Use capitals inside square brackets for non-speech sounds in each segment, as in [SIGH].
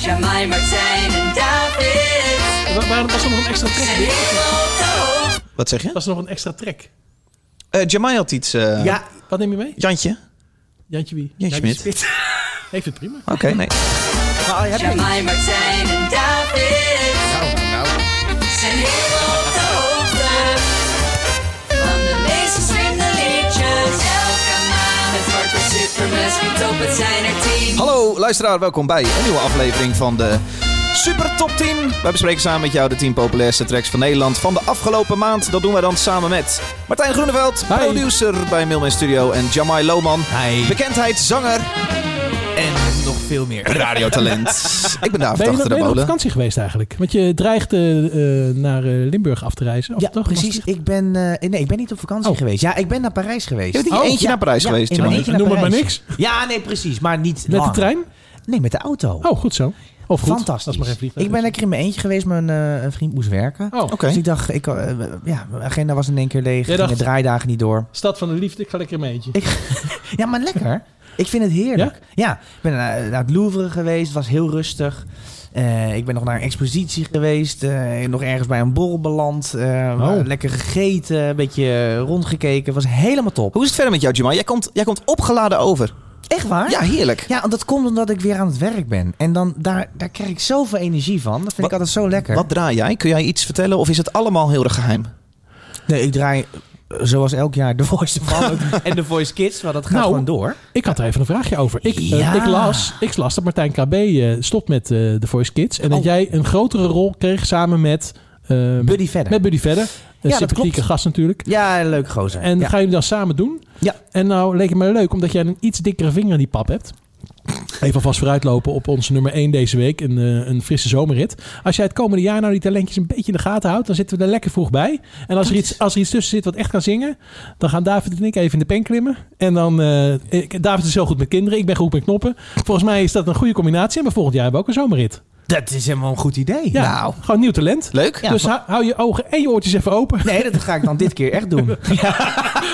Jamai, Martijn en David. Wa- Waarom was er nog een extra track? Dick? Helemaal op de hoogte. Wat zeg je? Was er nog een extra track? Eh Jamai had iets. eh, Ja. Wat neem je mee? Jantje? Jantje wie? Jantje Smit. [LAUGHS] Ik vind het prima. Oké, nee. Maar heb je Nou, Jamai, Martijn en David. Zijn helemaal op de hoogte. Van de meest gestreamde liedjes. Elke maand. Het wordt weer super, misschien top. Het zijn er tien. Hallo luisteraar, welkom bij een nieuwe aflevering van de Super Top 10. Wij bespreken samen met jou de 10 populairste tracks van Nederland van de afgelopen maand. Dat doen wij dan samen met Martijn Groeneveld, Hi. producer bij Mailman Studio en Jamai Lohman. Bekendheid, zanger, en nog veel meer. radiotalent. Ik ben David Ben je, nog- ben achter de je nog op molen. vakantie geweest eigenlijk? Want je dreigt eh, eh, naar eh, Limburg af te reizen. Of Ja, toch? precies. Maastricht? Ik ben, eh, nee, ik ben niet op vakantie Oh. geweest. Ja, ik ben naar Parijs Je geweest. bent in je eentje naar Parijs geweest, in mijn Jamal. eentje naar Noem het maar Parijs. niks. Ja, nee, precies. Maar niet Met de lang. trein? Nee, met de auto. Oh, goed zo. Of goed. Fantastisch. Dat is maar geen vliegtuig. dus. ik ben lekker in mijn eentje geweest. Mijn eh, een vriend moest werken. Oh, Oké. Dus ik dacht, ik, eh, ja, mijn agenda was in één keer leeg. Jij Gingen dacht- draaidagen niet door. Stad van de liefde, ik ga lekker in mijn eentje. Ik- Ja, maar lekker. Ik vind het heerlijk. Ja, ik ben naar, naar het Louvre geweest. Het was heel rustig. Eh, ik ben nog naar een expositie geweest. eh, nog ergens bij een borrel beland. eh, maar Lekker gegeten. Een beetje rondgekeken. Het was helemaal top. Hoe is het verder met jou, Jamal? Jij komt, jij komt opgeladen over. Echt waar? Ja, heerlijk. Ja, want dat komt omdat ik weer aan het werk ben. En dan, daar, daar krijg ik zoveel energie van. Dat vind Wat- ik altijd zo lekker. Wat draai jij? Kun jij iets vertellen of is het allemaal heel erg geheim? Nee, ik draai eh, zoals elk jaar The Voice van [LAUGHS] en The Voice Kids. Maar dat gaat Nou, gewoon door. Ik had daar even een vraagje over. Ik, eh, Ja. ik, las, ik las dat Martijn KB eh, stopt met eh The Voice Kids. En dat Oh. jij een grotere rol kreeg samen met... eh, Buddy verder. Met Buddy Vedder. Een dat sympathieke klopt. gast natuurlijk. Ja, leuk gozer. En ja. gaan jullie dan samen doen? Ja. En nou leek het mij leuk, omdat jij een iets dikkere vinger in die pap hebt. Even alvast vooruitlopen op onze nummer 1 deze week. Een, eh, een frisse zomerrit. Als jij het komende jaar nou die talentjes een beetje in de gaten houdt, dan zitten we er lekker vroeg bij. En als er iets, als er iets tussen zit wat echt kan zingen, dan gaan David en ik even in de pen klimmen. En dan, eh, ik- David is heel goed met kinderen, ik ben goed met knoppen. Volgens mij is dat een goede combinatie. En bij volgend jaar hebben we ook een zomerrit. Dat is helemaal een goed idee. Ja, Nou, Gewoon nieuw talent. Leuk. Ja, dus hou, hou je ogen en je oortjes even open. Nee, dat ga ik dan dit keer echt doen.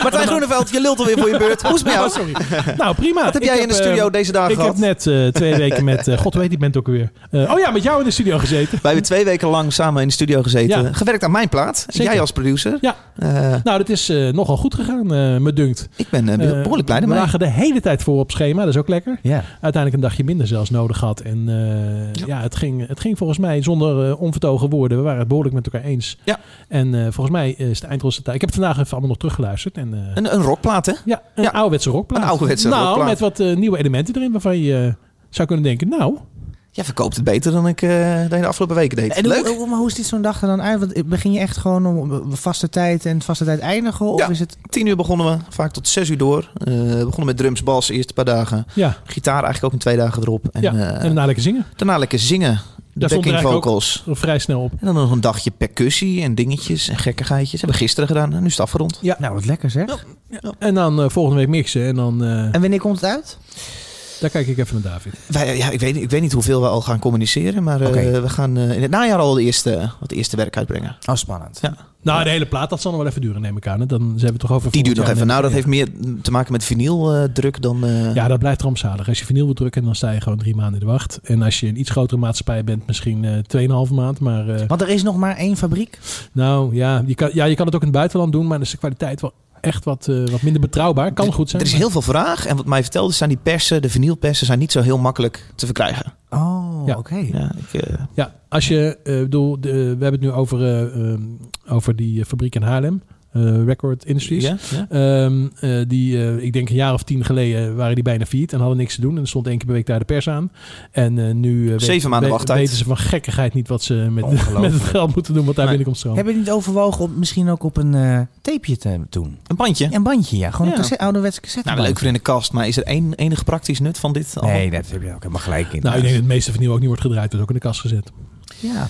Martijn Groeneveld, je lult alweer voor je beurt. Hoe is het met jou? [LAUGHS] Oh, sorry. Nou, [LAUGHS] prima. Wat heb Ik jij in de eh, studio deze dagen Ik gehad? heb net eh, twee weken met, eh, god weet die bent ook weer. Eh, oh ja, met jou in de studio gezeten. Wij hebben twee weken lang samen in de studio gezeten. Ja. Gewerkt aan mijn plaat. Zeker. Jij als producer. Ja. Eh, Nou, dat is eh, nogal goed gegaan, eh, me dunkt. ik ben eh, Eh, behoorlijk blij We ermee. lagen de hele tijd voor op schema, dat is ook lekker. Ja. Uiteindelijk een dagje minder zelfs nodig had. En eh, ja, het, ging, het ging volgens mij zonder eh, onvertogen woorden. We waren het behoorlijk met elkaar eens. Ja. En eh, volgens mij is de eindresultaat... Ik heb het vandaag even allemaal nog teruggeluisterd. En, eh, Een, een rockplaat, hè? ja, een ja. ouderwetse rockplaat. Een ouderwetse nou, rockplaat. met wat eh, nieuwe elementen erin waarvan je eh, zou kunnen denken... Nou, Jij verkoopt het beter dan ik eh, dan je de afgelopen weken deed. En Leuk. Hoe, hoe- maar hoe ziet zo'n dag er dan uit? Want begin je echt gewoon om om eh, vaste tijd en vaste tijd eindigen? Of Ja. is het... Tien uur begonnen we. Vaak tot zes uur door. Eh, we begonnen met drums, bas, eerst een paar dagen. ja, Gitaar eigenlijk ook in twee dagen erop. En, ja. eh, en daarna lekker zingen. daarna lekker zingen. De Daar stond er backing eigenlijk vocals. Vrij snel op. En dan nog een dagje percussie en dingetjes en gekkigheidjes. Hebben we gisteren gedaan. En nu is het afgerond. Ja. Nou, wat lekker zeg. En dan eh, volgende week mixen. En dan, eh, En wanneer komt het uit? daar kijk ik even naar David. Wij, ja, ik, weet, niet- ik weet niet hoeveel we al gaan communiceren. Maar eh, Oké. we gaan eh, in het najaar al de eerste, wat de eerste werk uitbrengen. Oh, spannend. Ja. Nou, de hele plaat, dat zal nog wel even duren, neem ik aan. hè. Dan zijn we het toch over Die volgend duurt nog jaar even. Nou, met- dat heeft meer te maken met vinyldruk dan... eh, Ja, dat blijft rampzalig. Als je vinyl wil drukken, dan sta je gewoon drie maanden in de wacht. En als je een iets grotere maatschappij bent, misschien eh, 2,5 maand. Maar eh, Want er is nog maar één fabriek. nou ja je, kan, ja, je kan het ook in het buitenland doen. Maar dan is de kwaliteit wel echt wat, eh, wat minder betrouwbaar. Kan goed zijn. dus Er is heel veel vraag. En wat mij vertelde, zijn die persen, de vinylpersen, zijn niet zo heel makkelijk te verkrijgen. Oh, Ja. oké. Ja, ik, eh, Ja, als je, eh, bedoel, de- we hebben het nu over, eh, ehm, over die eh, fabriek in Haarlem. eh, Record Industries. ja, ja. Ehm, eh, die, eh, ik denk een jaar of tien geleden waren die bijna failliet en hadden niks te doen. En er stond één keer per week daar de pers aan. En eh, nu eh, weet- Zeven maanden weet- wachttijd. weten ze van gekkigheid niet wat ze met, Ongelooflijk. met het geld moeten doen wat daar Nee. binnenkomt stromen. Hebben jullie het overwogen om misschien ook op een eh, tapeje te doen? Een bandje. Een bandje, ja. Gewoon Ja. een cassette, ouderwets cassette. Nou, leuk voor in de kast. Maar is er één, enig praktisch nut van dit? al? Nee, dat heb je ook helemaal gelijk in. Nou, ik denk dat het meeste van nieuw ook niet wordt gedraaid. Wordt ook in de kast gezet. Ja.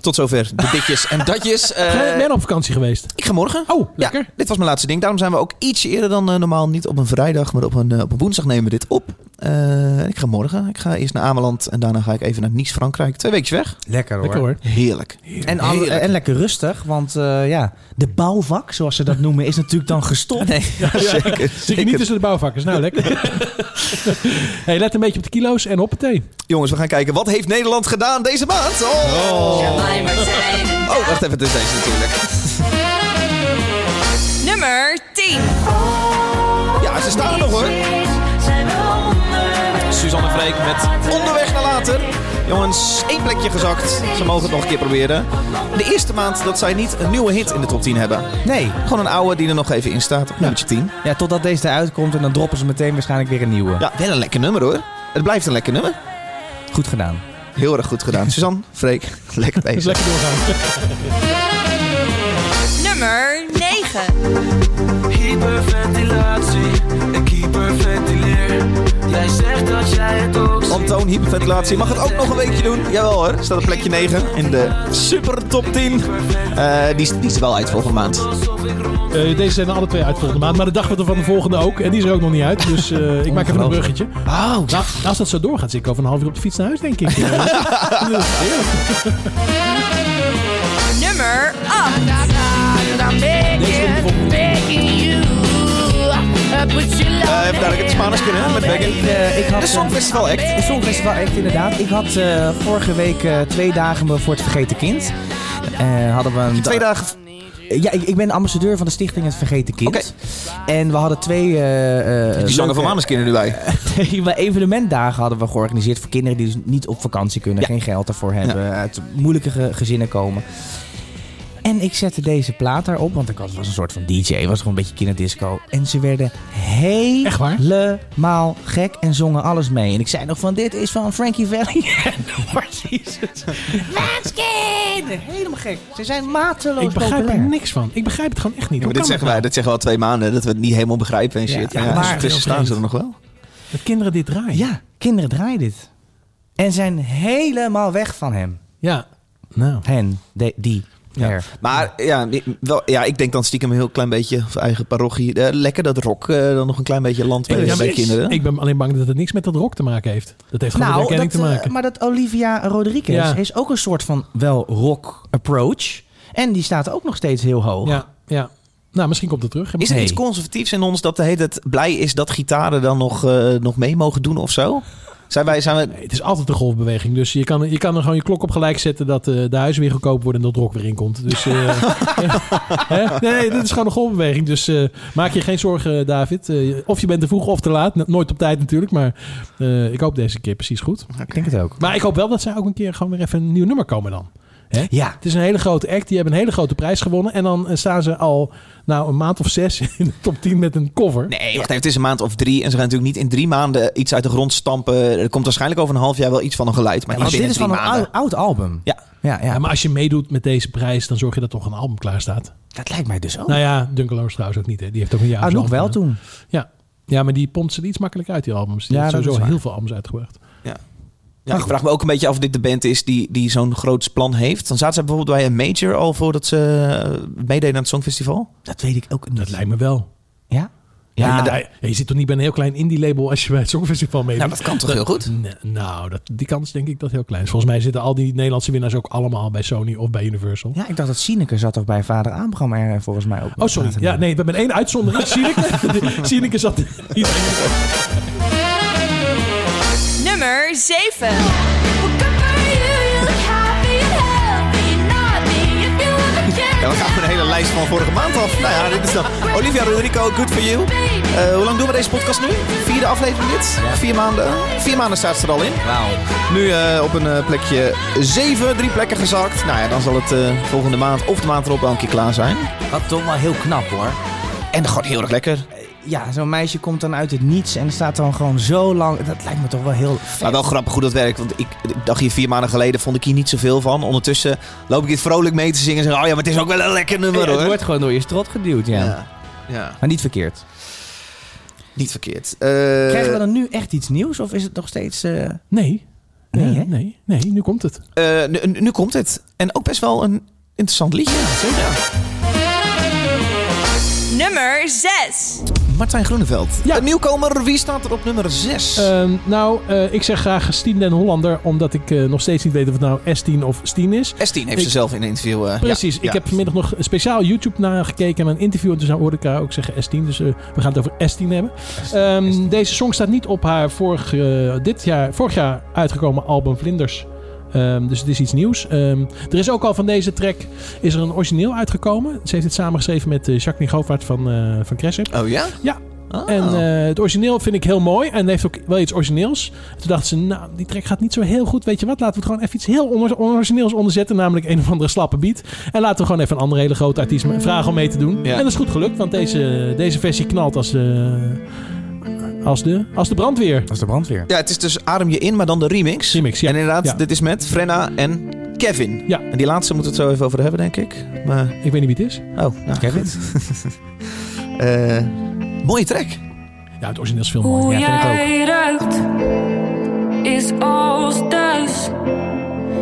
Tot zover de ditjes en [LAUGHS] datjes. Eh, Ga je- ben je nog op vakantie geweest? ik ga morgen. Oh, Ja, lekker. dit was mijn laatste ding. Daarom zijn we ook ietsje eerder dan eh, normaal. Niet op een vrijdag, maar op een, eh, op een woensdag nemen we dit op. Eh, Eh, ik ga morgen. Ik ga eerst naar Ameland en daarna ga ik even naar Nice, Frankrijk. Twee weken weg. Lekker hoor. Lekker hoor. Heerlijk. En, alle- en lekker rustig, want eh, ja, de bouwvak, zoals ze dat noemen, is natuurlijk dan [LAUGHS] gestopt. Zeker. Zit je zeker. niet tussen de bouwvakkers? Nou, [LAUGHS] lekker. hey, let een beetje op de kilo's en hoppatee. Jongens, we gaan kijken. Wat heeft Nederland gedaan deze maand? Oh, Jamai, Martijn en oh wacht even. Het is deze natuurlijk. Daan. Nummer 10. Ja, ze staan er nog hoor. Suzanne Freek met Onderweg naar Later. Jongens, één plekje gezakt. Ze mogen het nog een keer proberen. De eerste maand dat zij niet een nieuwe hit in de top 10 hebben. Nee. Gewoon een oude die er nog even in staat op nummertje 10. Ja, totdat deze eruit komt en dan droppen ze meteen waarschijnlijk weer een nieuwe. Ja, wel een lekker nummer hoor. Het blijft een lekker nummer. Goed gedaan. Heel erg goed gedaan. Suzanne, Freek, [LAUGHS] lekker Dus bezig. lekker doorgaan. Nummer 9. Hyperventilatie, ik hyperventileer. Jij zegt dat jij het ook ziet. Antoon, hyperventilatie. Mag het ook nog een weekje doen? Jawel hoor. Staat op plekje 9 in de super top 10. Eh, die, is- die is er wel uit volgende maand. Eh, deze zijn er alle twee uit volgende maand. Maar de dag wordt er van de volgende ook. En die is er ook nog niet uit. Dus eh, ik maak even een bruggetje. Oh, Nou, als dat zo doorgaat, zit ik over een half uur op de fiets naar huis, [LAUGHS] denk ik. Eh, heerlijk. Nummer 8. Deze vind ik bijvoorbeeld- uh, Eh even dadelijk het Spaans kunnen hè, met Beggin. eh, ik had De Songfestival Act. Het Songfestival Act, inderdaad. Ik had eh, vorige week eh, twee dagen me voor het Vergeten Kind. Eh, hadden we een Twee dagen Ja, ik, ik ben ambassadeur van de stichting Het Vergeten Kind. Oké. En we hadden twee... eh, eh, Die zangen van leuke- Manus kinderen nu bij. Nee, maar evenementdagen hadden we georganiseerd voor kinderen die dus niet op vakantie kunnen, Ja. geen geld ervoor hebben, uit moeilijke ge- gezinnen komen. En ik zette deze plaat daarop, want ik had, was een soort van DJ, was gewoon een beetje kinderdisco. En ze werden Echt waar? helemaal gek en zongen alles mee. En ik zei nog van, dit is van Frankie Valley. [LAUGHS] En dan was is het. Manskin! Helemaal gek. Ze zijn mateloos Ik begrijp er populair. niks van. Ik begrijp het gewoon echt niet. Ja, maar Hoe dit kan zeggen dat nou? wij, dat zeggen we al twee maanden, dat we het niet helemaal begrijpen en Ja, shit. ja, Ja, maar maar- tussen staan ze er nog wel. nou? Dat kinderen dit draaien. Ja, kinderen draaien dit. En zijn helemaal weg van hem. Ja. Nou. Hen, de- die, Ja. her. Maar ja, wel, ja, ik denk dan stiekem een heel klein beetje voor eigen parochie. eh, lekker dat rock eh, dan nog een klein beetje land bij, eh, Ja, maar bij kinderen. Nou, Ik ben alleen bang dat het niks met dat rock te maken heeft. Dat heeft gewoon met dat, herkenning te eh, maken. maar dat Olivia Rodriguez Ja. is ook een soort van wel rock approach. En die staat ook nog steeds heel hoog. Ja, ja. Nou, misschien komt het terug. oh. is er Nee. iets conservatiefs in ons dat de hele tijd blij is dat gitaren dan nog, eh, nog mee mogen doen of zo? Zijn wij, zijn we... Nee, het is altijd een golfbeweging. Dus je kan, je kan er gewoon je klok op gelijk zetten dat eh, de huizen weer goedkoop worden en dat rock weer in komt. Dus, eh, hè? nee, dit is gewoon een golfbeweging. Dus eh, maak je geen zorgen, David. Eh, of je bent te vroeg of te laat. N- Nooit op tijd natuurlijk. Maar eh, ik hoop deze keer precies goed. Ik denk het ook. Maar ik hoop wel dat zij ook een keer gewoon weer even een nieuw nummer komen dan. Hè? Ja. Het is een hele grote act. Die hebben een hele grote prijs gewonnen. En dan eh, staan ze al nou, een maand of zes [LAUGHS] in de top 10 met een cover. Nee, wacht even, het is een maand of drie en ze gaan natuurlijk niet in drie maanden iets uit de grond stampen. Er komt waarschijnlijk over een half jaar wel iets van een geluid, maar Want niet dit is binnen van een drie maanden. oud, oud album. Ja. Ja, ja. Ja, maar als je meedoet met deze prijs, dan zorg je dat toch een album klaar staat. dat lijkt mij dus ook. Nou ja, Duncan Lawrence trouwens ook niet. Hè. Die heeft ook een jaar. Ah, nog wel gedaan. toen. Ja. ja, maar die pompt ze iets makkelijker uit, die albums. Die Ja, heeft dat sowieso is waar. heel veel albums uitgebracht. Ja, ik vraag me ook een beetje af of dit de band is die, die zo'n groots plan heeft. Dan zaten ze bijvoorbeeld bij een major al voordat ze eh, meededen aan het Songfestival. Dat weet ik ook niet. Dat lijkt me wel. Ja? Ja, ja, je zit toch niet bij een heel klein indie label als je bij het Songfestival meedoet? Nou, dat kan toch heel goed? Nee, nou, dat, die kans denk ik dat heel klein is. Volgens mij zitten al die Nederlandse winnaars ook allemaal bij Sony of bij Universal. Ja, ik dacht dat Sineke zat toch bij Vader Abraham er eh, volgens mij ook. Oh, sorry. Ja, nee, we hebben één [LAUGHS] uitzondering. Sineke. Sineke zat niet Nummer 7. Ja, Ja, we gaan een hele lijst van vorige maand af. Nou ja, dit is dan Olivia Rodrigo, Good For You. Eh, hoe lang doen we deze podcast nu? Vierde aflevering dit? Vier maanden? Vier maanden staat ze er al in. Wauw. Nu eh, op een eh, plekje zeven, drie plekken gezakt. Nou ja, dan zal het eh, volgende maand of de maand erop wel een keer klaar zijn. Dat toch wel heel knap hoor. En gewoon heel erg lekker. Eh, Ja, zo'n meisje komt dan uit het niets en staat dan gewoon zo lang. Dat lijkt me toch wel heel vet. Maar wel grappig hoe dat werkt. Want ik, ik dacht hier vier maanden geleden vond ik hier niet zoveel van. Ondertussen loop ik dit vrolijk mee te zingen. En zeg, oh ja, maar het is ook wel een lekker nummer Ja, hoor. het wordt gewoon door je strot geduwd, ja. ja. ja, Maar niet verkeerd. niet verkeerd. Eh, Krijgen we dan nu echt iets nieuws of is het nog steeds... eh, Nee. Nee, Eh, hè? nee, nee, nu komt het. Eh, nu, nu komt het. En ook best wel een interessant liedje. Ja, Nummer 6. Martijn Groeneveld. Ja. Een nieuwkomer, wie staat er op nummer 6? Ehm, nou, eh, ik zeg graag Stien den Hollander, omdat ik eh, nog steeds niet weet of het nou S10 of Stien is. S10 heeft ik- ze zelf in een interview. eh, Precies, ja, ik ja. heb vanmiddag nog een speciaal YouTube nagekeken en mijn interview. En toen hoorde ik haar ook zeggen S10, dus eh, we gaan het over S10 hebben. Ehm, Deze song staat niet op haar vorig, eh, dit jaar, vorig jaar uitgekomen album Vlinders. Ehm, dus het is iets nieuws. Ehm, er is ook al van deze track is er een origineel uitgekomen. Ze heeft het samengeschreven met eh, Jacqueline Govaert van, eh van Cressip. Oh ja? Ja. Oh. En eh, het origineel vind ik heel mooi en heeft ook wel iets origineels. Toen dachten ze, nou, die track gaat niet zo heel goed. Weet je wat, laten we het gewoon even iets heel onor- onorigineels onderzetten. Namelijk een of andere slappe beat. En laten we gewoon even een andere hele grote artiest me- vragen om mee te doen. Ja. En dat is goed gelukt, want deze, deze versie knalt als de, als de, als de brandweer. Dat is de brandweer. ja, het is dus Adem je in, maar dan de remix. Remix, ja. En inderdaad, Ja. dit is met Frenna en Kevin. Ja. En die laatste moeten we het zo even over hebben, denk ik. Maar, Ik weet niet wie het is. oh, nou, Kevin? [LAUGHS] eh, mooie track. Ja, het origineel is veel Hoe mooier. Ja, vind ik ook. jij ruikt is als thuis.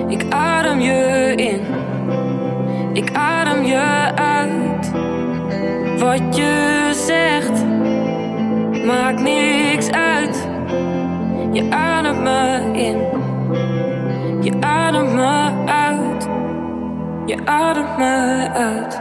Ik adem je in, ik adem je uit. Wat je zegt maakt niks uit. Je ademt me in, je ademt me uit, je ademt me uit.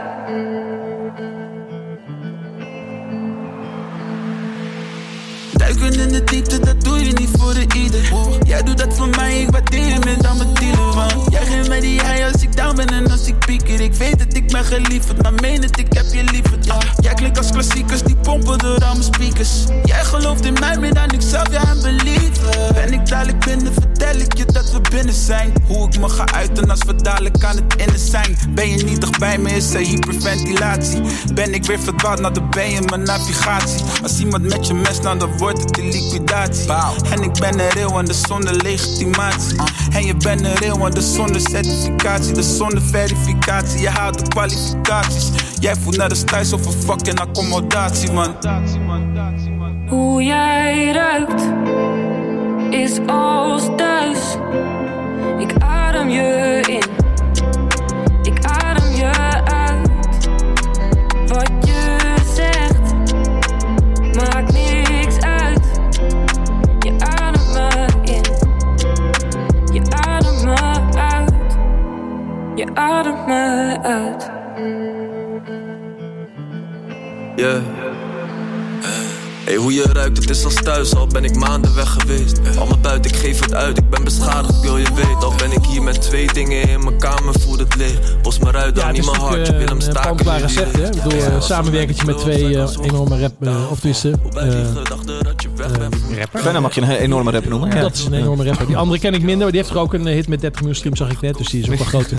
Duiken in de diepte, dat doe je niet voor de ieder. Jij doet dat voor mij, ik waardeer je met al mijn dealen. Want jij geeft mij die high als ik down ben en als ik pieker. Ik weet dat ik ben geliefd, maar meen het, ik heb je lieverd. Ja. Jij klinkt als klassiekers, die pompen door al mijn speakers. Jij gelooft in mij meer dan ik zelf, ja, en believer. Ben ik dadelijk binnen, vertel ik je dat we binnen zijn. Hoe ik me ga uiten als we dadelijk aan het innen zijn. Ben je niet dichtbij me, is er hyperventilatie. Ben ik weer verdwaald, nou dan ben je mijn navigatie. Als iemand met je mes, nou dan wordt het die liquidatie. En ik ben er real en de zonder legitimatie. En je bent er real en de zonder certificatie. De zonder verificatie, je haalt de kwalificaties. Jij voelt naar de thuis over fucking accommodatie, man. Hoe jij ruikt is als thuis. Ik adem je in, ik adem je uit. Wat je zegt maakt niks uit. Je ademt me in, je ademt me uit, je ademt me uit. Yeah. Hey, hoe je ruikt, het is als thuis, al ben ik maanden weg geweest. Al mijn buit, ik geef het uit, ik ben beschadigd, ik wil je weet. Al ben ik hier met twee dingen in mijn kamer, voel het leeg. Bos maar uit, Ja, dan het niet is mijn hart, natuurlijk eh, je wil hem een staken. kant wil je recept, hè? niet. Ik bedoel, Ja, eh, samenwerkertje met twee eh, enorme rap, eh, of tenminste, Bij die eh, gedachte dat je weg bent. Frenna mag je een enorme rapper noemen. Ja. Dat is een enorme rapper. Die andere ken ik minder, maar die heeft er ook een eh, hit met 30 miljoen streams, zag ik net. Dus die is ook wel groot.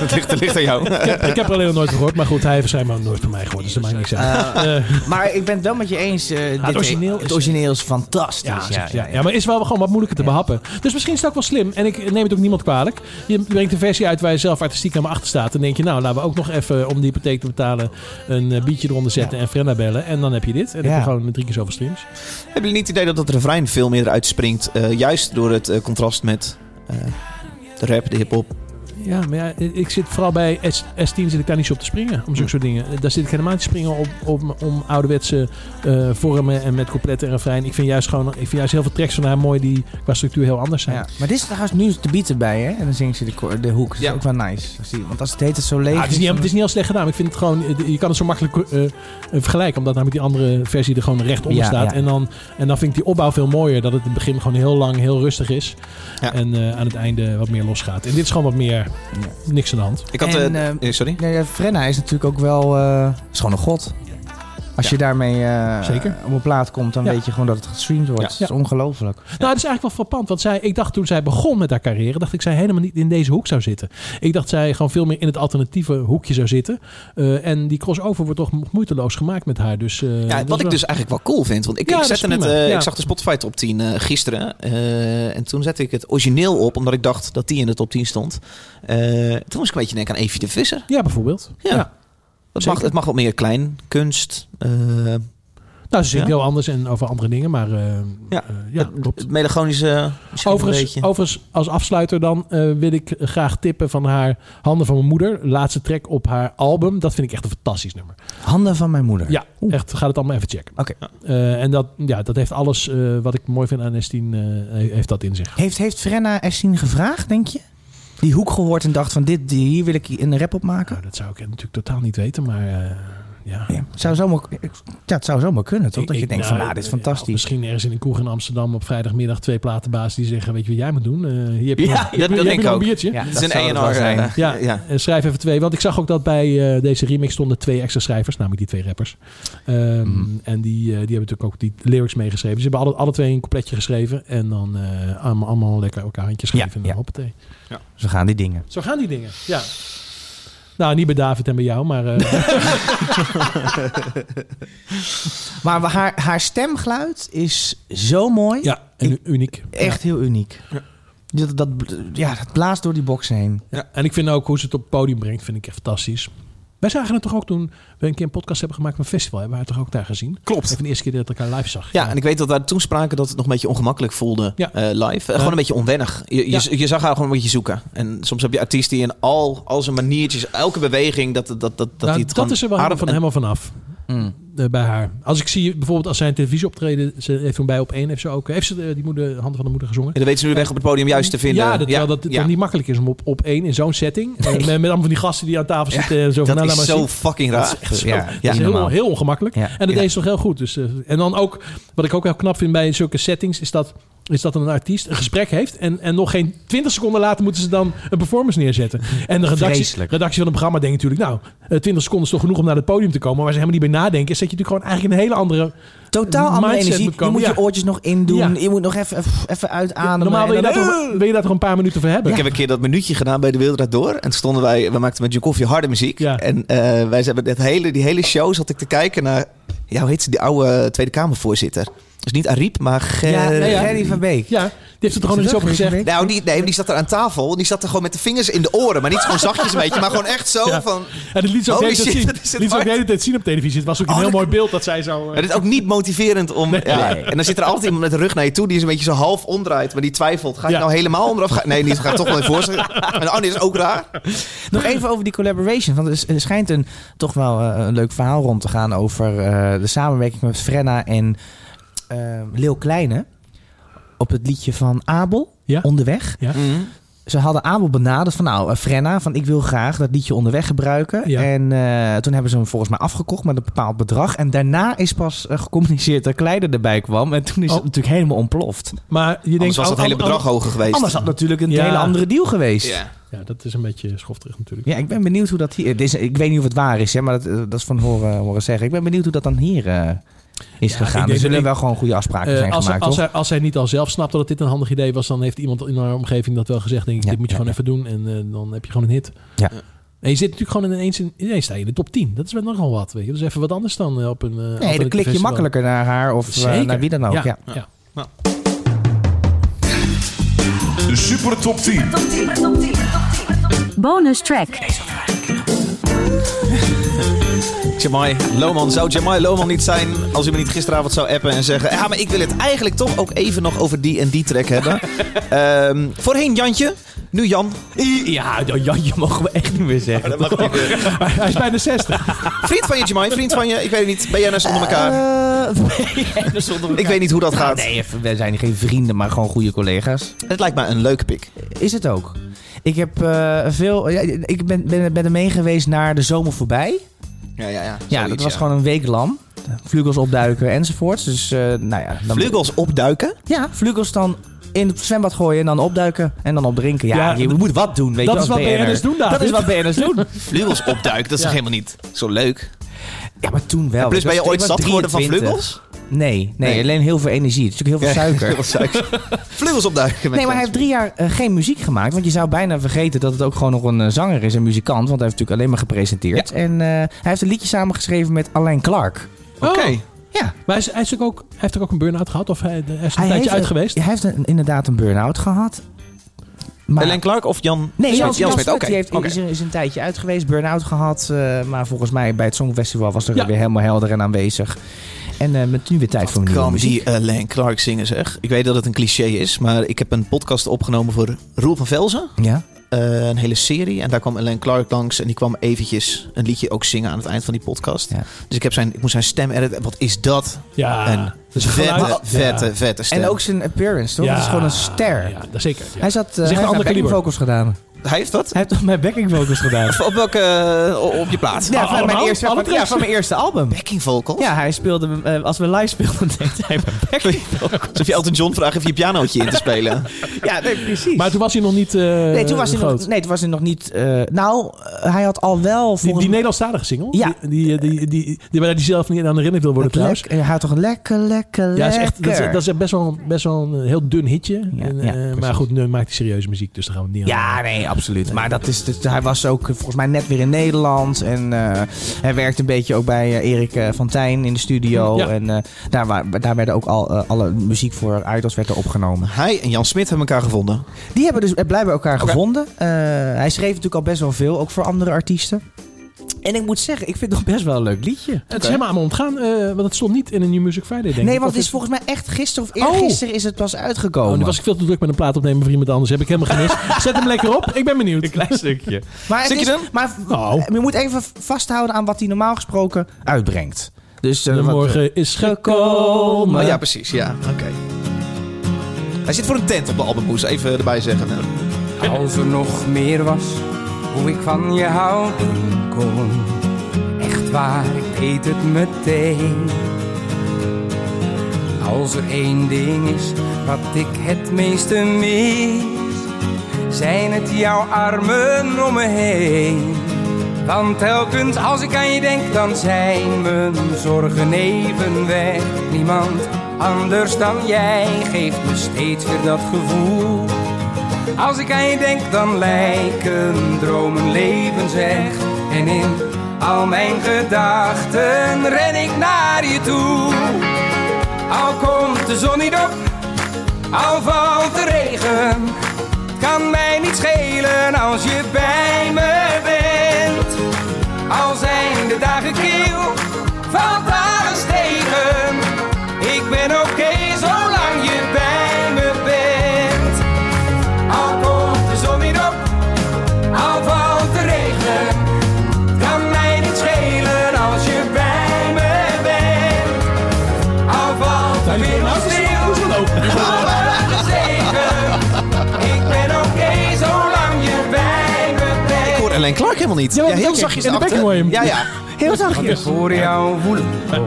Dat ligt, dat ligt aan [LAUGHS] jou. ik heb er alleen nog nooit van gehoord. Maar goed, hij heeft waarschijnlijk ook nooit van mij gehoord. Dus dat maakt niks uit. Eh, Maar ik ben het wel met je eens. eh, dit, origineel het is- origineel is fantastisch. ja, ja, ja, ja, maar is wel gewoon wat moeilijker te behappen. Dus misschien is het ook wel slim. En ik neem het ook niemand kwalijk. Je brengt een versie uit waar je zelf artistiek helemaal achter staat. En denk je, nou, laten we ook nog even om die hypotheek te betalen... een eh, beatje eronder zetten en Frenna bellen. En dan heb je dit. En dan heb Ja. je gewoon drie keer zoveel streams. Hebben jullie niet het idee dat het refrein veel meer uitspringt? eh, juist door het eh, contrast met eh, de rap, de hip-hop. Ja, maar ja, ik zit vooral bij S, S10 zit ik daar niet zo op te springen. Om zulke soort dingen. Daar zit ik helemaal niet te springen op, om, om ouderwetse eh, vormen en met complete en refrein. Ik vind juist gewoon, ik vind juist heel veel tracks van haar mooi die qua structuur heel anders zijn. Ja. Maar dit is trouwens nu de beat erbij, hè? En dan zingt ze de, ko- de hoek. Dat is Ja. ook wel nice. Als die- Want als het heet het zo leeg Ah, het, is niet, dan- het is niet heel slecht gedaan. maar Ik vind het gewoon, eh, je kan het zo makkelijk eh, eh, vergelijken. Omdat namelijk die andere versie er gewoon recht onder Ja, staat. ja. En, dan, en dan vind ik die opbouw veel mooier. Dat het in het begin gewoon heel lang, heel rustig is. Ja. En eh, aan het einde wat meer losgaat. En dit is gewoon wat meer niks aan de hand. Ik had... En, eh, ehm, eh, sorry? Nee, ja, Frenna is natuurlijk ook wel... eh is gewoon een god. Als je daarmee eh, Zeker. op een plaat komt, dan Ja. weet je gewoon dat het gestreamd wordt. Ja. Dat is ongelooflijk. Nou, dat is eigenlijk wel frappant. Want zij, ik dacht toen zij begon met haar carrière, dacht ik zij helemaal niet in deze hoek zou zitten. Ik dacht zij gewoon veel meer in het alternatieve hoekje zou zitten. Eh, en die crossover wordt toch moeiteloos gemaakt met haar. Dus, eh, Ja, dat wat is ik wel- dus eigenlijk wel cool vind. Want ik, Ja, ik, dat is zette het, prima. eh, Ja. ik zag de Spotify top 10 eh, gisteren. eh, en toen zette ik het origineel op, omdat ik dacht dat die in de top 10 stond. Eh, toen moest ik een beetje denken aan Evie de Visser. Ja, bijvoorbeeld. Ja. Ja. Het mag, het mag wat meer klein, kunst. eh, Nou, ze zingt Ja? heel anders en over andere dingen, maar eh, Ja. eh, ja klopt. Het melancholische misschien een Overigens, beetje. overigens, als afsluiter dan eh, wil ik graag tippen van haar Handen van mijn moeder. Laatste track op haar album. Dat vind ik echt een fantastisch nummer. Handen van mijn moeder. Ja, echt. Ga het allemaal even checken. Oké. Eh, en dat, ja, dat heeft alles eh, wat ik mooi vind aan Estine, eh, he- heeft dat in zich. Heeft, heeft Frenna Essien gevraagd, denk je? Die hoek gehoord en dacht van dit, die- hier wil ik een rap op maken. Nou, dat zou ik natuurlijk totaal niet weten, maar eh, ja. Ja, het zou zomaar, ja, het zou zomaar kunnen, toch? Dat je Ik- denkt nou, van, nou, dit is eh, ja, fantastisch. misschien ergens in een kroeg in Amsterdam op vrijdagmiddag twee platenbaas die zeggen, weet je wat jij moet doen? Eh, hier heb je Ja, nog- hier heb dat- je- hier dat heb denk je nog ik ook. een biertje. Ja, Het dat is zou een het wel A&R. zijn. eh, Ja, ja. eh, schrijf even twee. Want ik zag ook dat bij eh, deze remix stonden twee extra schrijvers, namelijk die twee rappers. Ehm, Mhm. En die, eh, die hebben natuurlijk ook die lyrics meegeschreven. Dus ze hebben alle, alle twee een coupletje geschreven. En dan eh, allemaal, allemaal lekker elkaar handjes Ja, geven. en dan ja. hoppatee. Zo gaan die dingen. Zo gaan die dingen, ja. Nou, niet bij David en bij jou, maar... eh, Maar we- haar, haar stemgeluid is zo mooi. ja, en Ik- uniek. Echt heel uniek. Dat, dat, ja, dat blaast door die box heen. Ja, en ik vind ook hoe ze het op het podium brengt, vind ik echt fantastisch. Wij zagen het toch ook toen we een keer een podcast hebben gemaakt van een festival. Hebben we haar toch ook daar gezien? Klopt. Even de eerste keer dat ik haar live zag. Ja, en ik weet dat daar toen spraken dat het nog een beetje ongemakkelijk voelde Ja. eh, live. Eh, gewoon een beetje onwennig. Je, je, je zag haar gewoon een beetje zoeken. En soms heb je artiesten die in al, al zijn maniertjes, elke beweging, dat, dat, dat, dat Nou, die het dat gewoon is er wel aardig- Mm. helemaal, van, helemaal vanaf. Eh, bij haar. Als ik zie, bijvoorbeeld als zij een televisieoptreden, ze heeft toen bij op één, heeft ze ook, heeft ze eh, die moeder, handen van de moeder gezongen? En dan weten ze nu de weg op het podium juist te vinden. Ja, dat, terwijl dat het ja. dan niet makkelijk is om op, op één in zo'n setting, eh, met, met allemaal van die gasten die aan tafel zitten en zo van, Dat nou, is laat maar zo zien. fucking raar. Dat is echt zo. Ja, dat ja, is heel, normaal. heel ongemakkelijk. Ja. En dat Ja. deed ze toch heel goed. Dus, eh, en dan ook, wat ik ook heel knap vind bij zulke settings, is dat, is dat een artiest een gesprek heeft en, en nog geen 20 seconden later moeten ze dan een performance neerzetten. En de redactie, Vreselijk. redactie van het programma denkt natuurlijk, nou, eh, 20 seconden is toch genoeg om naar het podium te komen. Waar ze helemaal niet bij nadenken, is dat je natuurlijk gewoon eigenlijk een hele andere... Totaal andere Mindset energie. moet komen, je moet ja. je oortjes nog indoen. Ja. Je moet nog even, even- even uitademen. Normaal wil je, En daar dan- toch, wil je daar toch een paar minuten voor hebben. Ik heb een keer dat minuutje gedaan bij de Wildraad door. En toen stonden wij, we maakten met Jokoffie harde muziek. Ja. En eh, wij hebben dat hele, die hele show zat ik te kijken naar, ja, hoe heet ze, die oude Tweede Kamervoorzitter. Dus niet Ariep, maar Ger- Ja, nee, ja. eh, Gerry van Beek. Ja, die heeft het er gewoon nog Is iets het over ook gezegd. een Nou, die, nee, die zat er aan tafel. Die zat er gewoon met de vingers in de oren. Maar niet gewoon zachtjes een beetje, maar gewoon echt zo Ja. van... En dat liet ze ook, de Holy hele tijd shit, zien. dat is het Liet ze ook de waard. hele tijd zien op televisie. Het was ook een Oh, heel dat- mooi beeld dat zij zo... eh, Het is ook niet motiverend om... ja. En dan zit er altijd iemand met de rug naar je toe... die is een beetje zo half omdraait, maar die twijfelt. Ga ik Ja. nou helemaal onder of ga Nee, niet, ga ik toch wel even voor zich. En oh, nee, dat is ook raar. Nog even over die collaboration. Want er is- er schijnt een, toch wel eh, een leuk verhaal rond te gaan over eh, de samenwerking met Frenna en eh Leeuw Kleine. Op het liedje van Abel, Ja. Onderweg. Ja. Ze hadden Abel benaderd van nou, eh, Frenna, van ik wil graag dat liedje onderweg gebruiken. Ja. En eh, toen hebben ze hem volgens mij afgekocht met een bepaald bedrag. En daarna is pas eh, gecommuniceerd dat Kleine erbij kwam. En toen is Oh. het natuurlijk helemaal ontploft. Maar je denkt... Anders was dat oh, hele oh, bedrag hoger geweest. Anders had natuurlijk een Ja. hele andere deal geweest. Ja. oh. Ja, dat is een beetje schofterig natuurlijk. Ja, ik ben benieuwd hoe dat hier... het is- ik weet niet of het waar is, hè, maar dat, dat is van horen, horen zeggen. Ik ben benieuwd hoe dat dan hier eh, is Ja, ik gegaan. denk Er zullen dat ik- wel gewoon goede afspraken Eh, zijn als, gemaakt, als, toch? hij, als hij niet al zelf snapte dat dit een handig idee was, dan heeft iemand in haar omgeving dat wel gezegd. Denk ik, Ja, dit moet je ja, gewoon even doen en eh, dan heb je gewoon een hit. Ja. En je zit natuurlijk gewoon ineens, in, ineens sta je in de top 10. Dat is wel nogal wat. Weet je. Dat is even wat anders dan eh, op een. eh, nee, dan alternatief klik je festival. makkelijker naar haar of eh, Zeker. naar wie dan ook. Ja. ja. De Super Top 10. Bonus track. Jamai Loman. Zou Jamai Loman niet zijn als u me niet gisteravond zou appen en zeggen... Ja, maar ik wil het eigenlijk toch ook even nog over die en die track [LAUGHS] hebben. Ehm, voorheen Jantje, nu Jan. Ja, Jan, je mogen we echt niet meer zeggen. Hij is bijna 60. Vriend van je, Jamai. Vriend van je. Ik weet het niet. Ben jij nou zonder elkaar? [LAUGHS] Ik weet niet hoe dat gaat. Eh, nee, we zijn geen vrienden, maar gewoon goede collega's. Het lijkt mij een leuke pik. Is het ook. Ik, heb, eh, veel, ja, ik ben, ben, ben er mee geweest naar de zomer voorbij. Ja, ja, ja. Ja, dat was gewoon een week lam. Vlugels opduiken enzovoorts. Dus, eh, nou ja, dan Vleugels opduiken? Ja, vlugels dan in het zwembad gooien en dan opduiken en dan opdrinken. Ja, Ja, je d- moet wat doen, weet dat je is als wat BN'ers doen, David. Dat is wat BN'ers [LAUGHS] doen. Vleugels opduiken, dat Ja. is toch helemaal niet zo leuk? Ja, maar toen Plus, wel. Ik was- ben je ik ooit was zat geworden van 23. vleugels? Nee, nee, Nee. alleen heel veel energie. Het is natuurlijk heel veel [LAUGHS] suiker. Vleugels opduiken. met Nee, maar hij heeft drie jaar eh, geen muziek gemaakt. Want je zou bijna vergeten dat het ook gewoon nog een eh, zanger is en muzikant. Want hij heeft natuurlijk alleen maar gepresenteerd. En eh, hij heeft een liedje samengeschreven met Alain Clark. Oké. Ja, Maar hij, is, hij, is natuurlijk ook, hij heeft ook, ook een burn-out gehad? Of hij, hij is een tijdje heeft, uit een- geweest? Hij heeft een- inderdaad een burn-out gehad. Maar Ellen Clark of Jan Oh. Nee, Smit? Jan, Jan Smit, Oké. die heeft, Oké. is, er- is een tijdje uit geweest, burn-out gehad. eh, maar volgens mij bij het Songfestival was er Ja. weer helemaal helder en aanwezig. En eh met nu weer tijd voor een nieuwe Kan muziek. die eh, Len Clark zingen zeg. Ik weet dat het een cliché is, maar ik heb een podcast opgenomen voor Roel van Velzen. Ja? Eh, een hele serie. En daar kwam Ellen Clark langs. En die kwam eventjes een liedje ook zingen aan het eind van die podcast. Ja. Dus ik, heb zijn, ik moest zijn stem editen. Wat is dat? Ja, En dus een Vette, geluid- vette, Ja. vette stem. En ook zijn appearance, toch? Ja. Dat is gewoon een ster. Ja, dat zeker. ja. Hij zat, eh echt hij een heeft ander mijn backing kaliber. vocals gedaan. Hij Hij heeft wat? heeft toch mijn backing vocals [LAUGHS] gedaan? Op welke... eh, op je plaat? Ja, van mijn, allemaal? eerste, Alle van, ja, tracks? van mijn eerste album. Backing vocals? Ja, hij speelde, eh, als we live speelden, deed hij mijn backing vocals. Alsof je Elton John vraagt of je een pianootje in te spelen. Ja, nee, precies. Maar toen was hij nog niet eh, nee, toen was hij groot. nog, nee, toen was hij nog niet... eh, nou, eh, hij had al wel... Die, volgens die Nederlandstalige single? Ja. Die, die, die, die, die, die- waar hij zelf niet aan herinnerd wil worden mij- trouwens. Lek- hij had toch een lekker, lekker, Ja, is lekker. echt, dat, is, dat is echt best, wel, best wel een eh, heel dun hitje. Ja, En, ja, eh, precies. maar goed, nu maakt hij serieuze muziek, dus daar gaan we het niet aan. Ja, nee, absoluut. Maar dat is, dat- hij was ook eh, volgens mij net weer in Nederland. En eh, hij werkte een beetje ook bij eh, Erik eh, van Tijn in de studio. Ja. En eh, daar, wa- daar werden ook al eh, alle muziek voor Idols werd er opgenomen. Hij en Jan Smit hebben elkaar gevonden. Die hebben dus eh, blijkbaar elkaar gevonden. Eh, hij schreef natuurlijk al best wel veel, ook voor andere artiesten. En ik moet zeggen, ik vind het nog best wel een leuk liedje. Het is helemaal aan me ontgaan, eh, want het stond niet in een New Music Friday, denk ik. nee, want Of het is volgens mij echt gisteren of eergisteren is het pas Oh, uitgekomen. nu was ik veel te druk met een plaat opnemen voor iemand anders. Heb ik helemaal gemist. [LAUGHS] Zet hem lekker op. Ik ben benieuwd. [LAUGHS] stukje. Maar, het Stukje is, dan? maar Nou. je moet even vasthouden aan wat hij normaal gesproken uitbrengt. Dus eh, Oh, De wat- morgen is gekomen. gekomen. ja, precies. Ja, oké. Hij zit voor een tent op de albumhoes, even erbij zeggen. Nou, Als er nog meer was, hoe ik van je houden kon. Echt waar, ik weet het meteen. Als er één ding is wat ik het meeste mis, zijn het jouw armen om me heen. Want telkens als ik aan je denk, dan zijn mijn zorgen even weg. Niemand anders dan jij geeft me steeds weer dat gevoel. Als ik aan je denk, dan lijken dromen levensweg. En in al mijn gedachten ren ik naar je toe. Al komt de zon niet op, al valt de regen. Het kan mij niet schelen als je bij me bent. Al zijn de dagen kiel, valt alles tegen. Ik ben oké zolang je bij me bent. Al komt de zon niet op, al valt de regen. Kan mij niet schelen als je bij me bent. Al valt er weer wat stil, al alles zegen. Ik ben oké zolang je bij me Ik bent. hoor Ellen Clark helemaal niet. Ja, Ja, maar heel backing. zachtjes In de erachter. backing hoor je Ja, hem. ja. Heel zachtjes. Voor jou woelen. Wij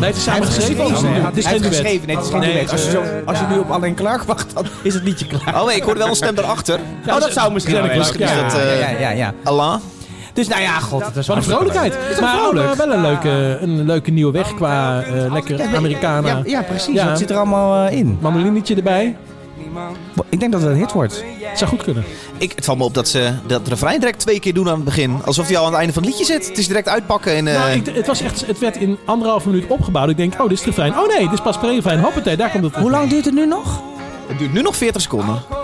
hebben samen geschreven. geschreven, ook, hè? hè? Het is Hij geen heeft duet. geschreven, nee, het is geen duet. Als je, zo, als je nu op Alain Clark wacht, dan is het liedje klaar. Oh nee, ik hoorde wel een stem daarachter. Ja, Oh, dat zou misschien wel ja, leuk misschien zijn. is dat, ja, eh, ja, ja, ja. Allah. Dus nou ja, god. Dat is Wat een vrolijkheid. maar vrolijk. Oh, wel een leuke, een leuke nieuwe weg qua eh, lekker Americana. Ja, ja, precies. Ja. Dat zit er allemaal eh, in. Mandolinetje erbij. Niemand Ik denk dat het een hit wordt. Het zou goed kunnen. Ik, het valt me op dat ze dat refrein direct twee keer doen aan het begin. Alsof hij al aan het einde van het liedje zit. Het is direct uitpakken en... eh, Nou, ik, het, was echt, het werd in anderhalve minuut opgebouwd. Ik denk, oh, dit is te fijn. Oh nee, dit is pas pre-fijn. Hoppatee, daar komt het. Hoe lang duurt het nu nog? het duurt nu nog 40 seconden. komt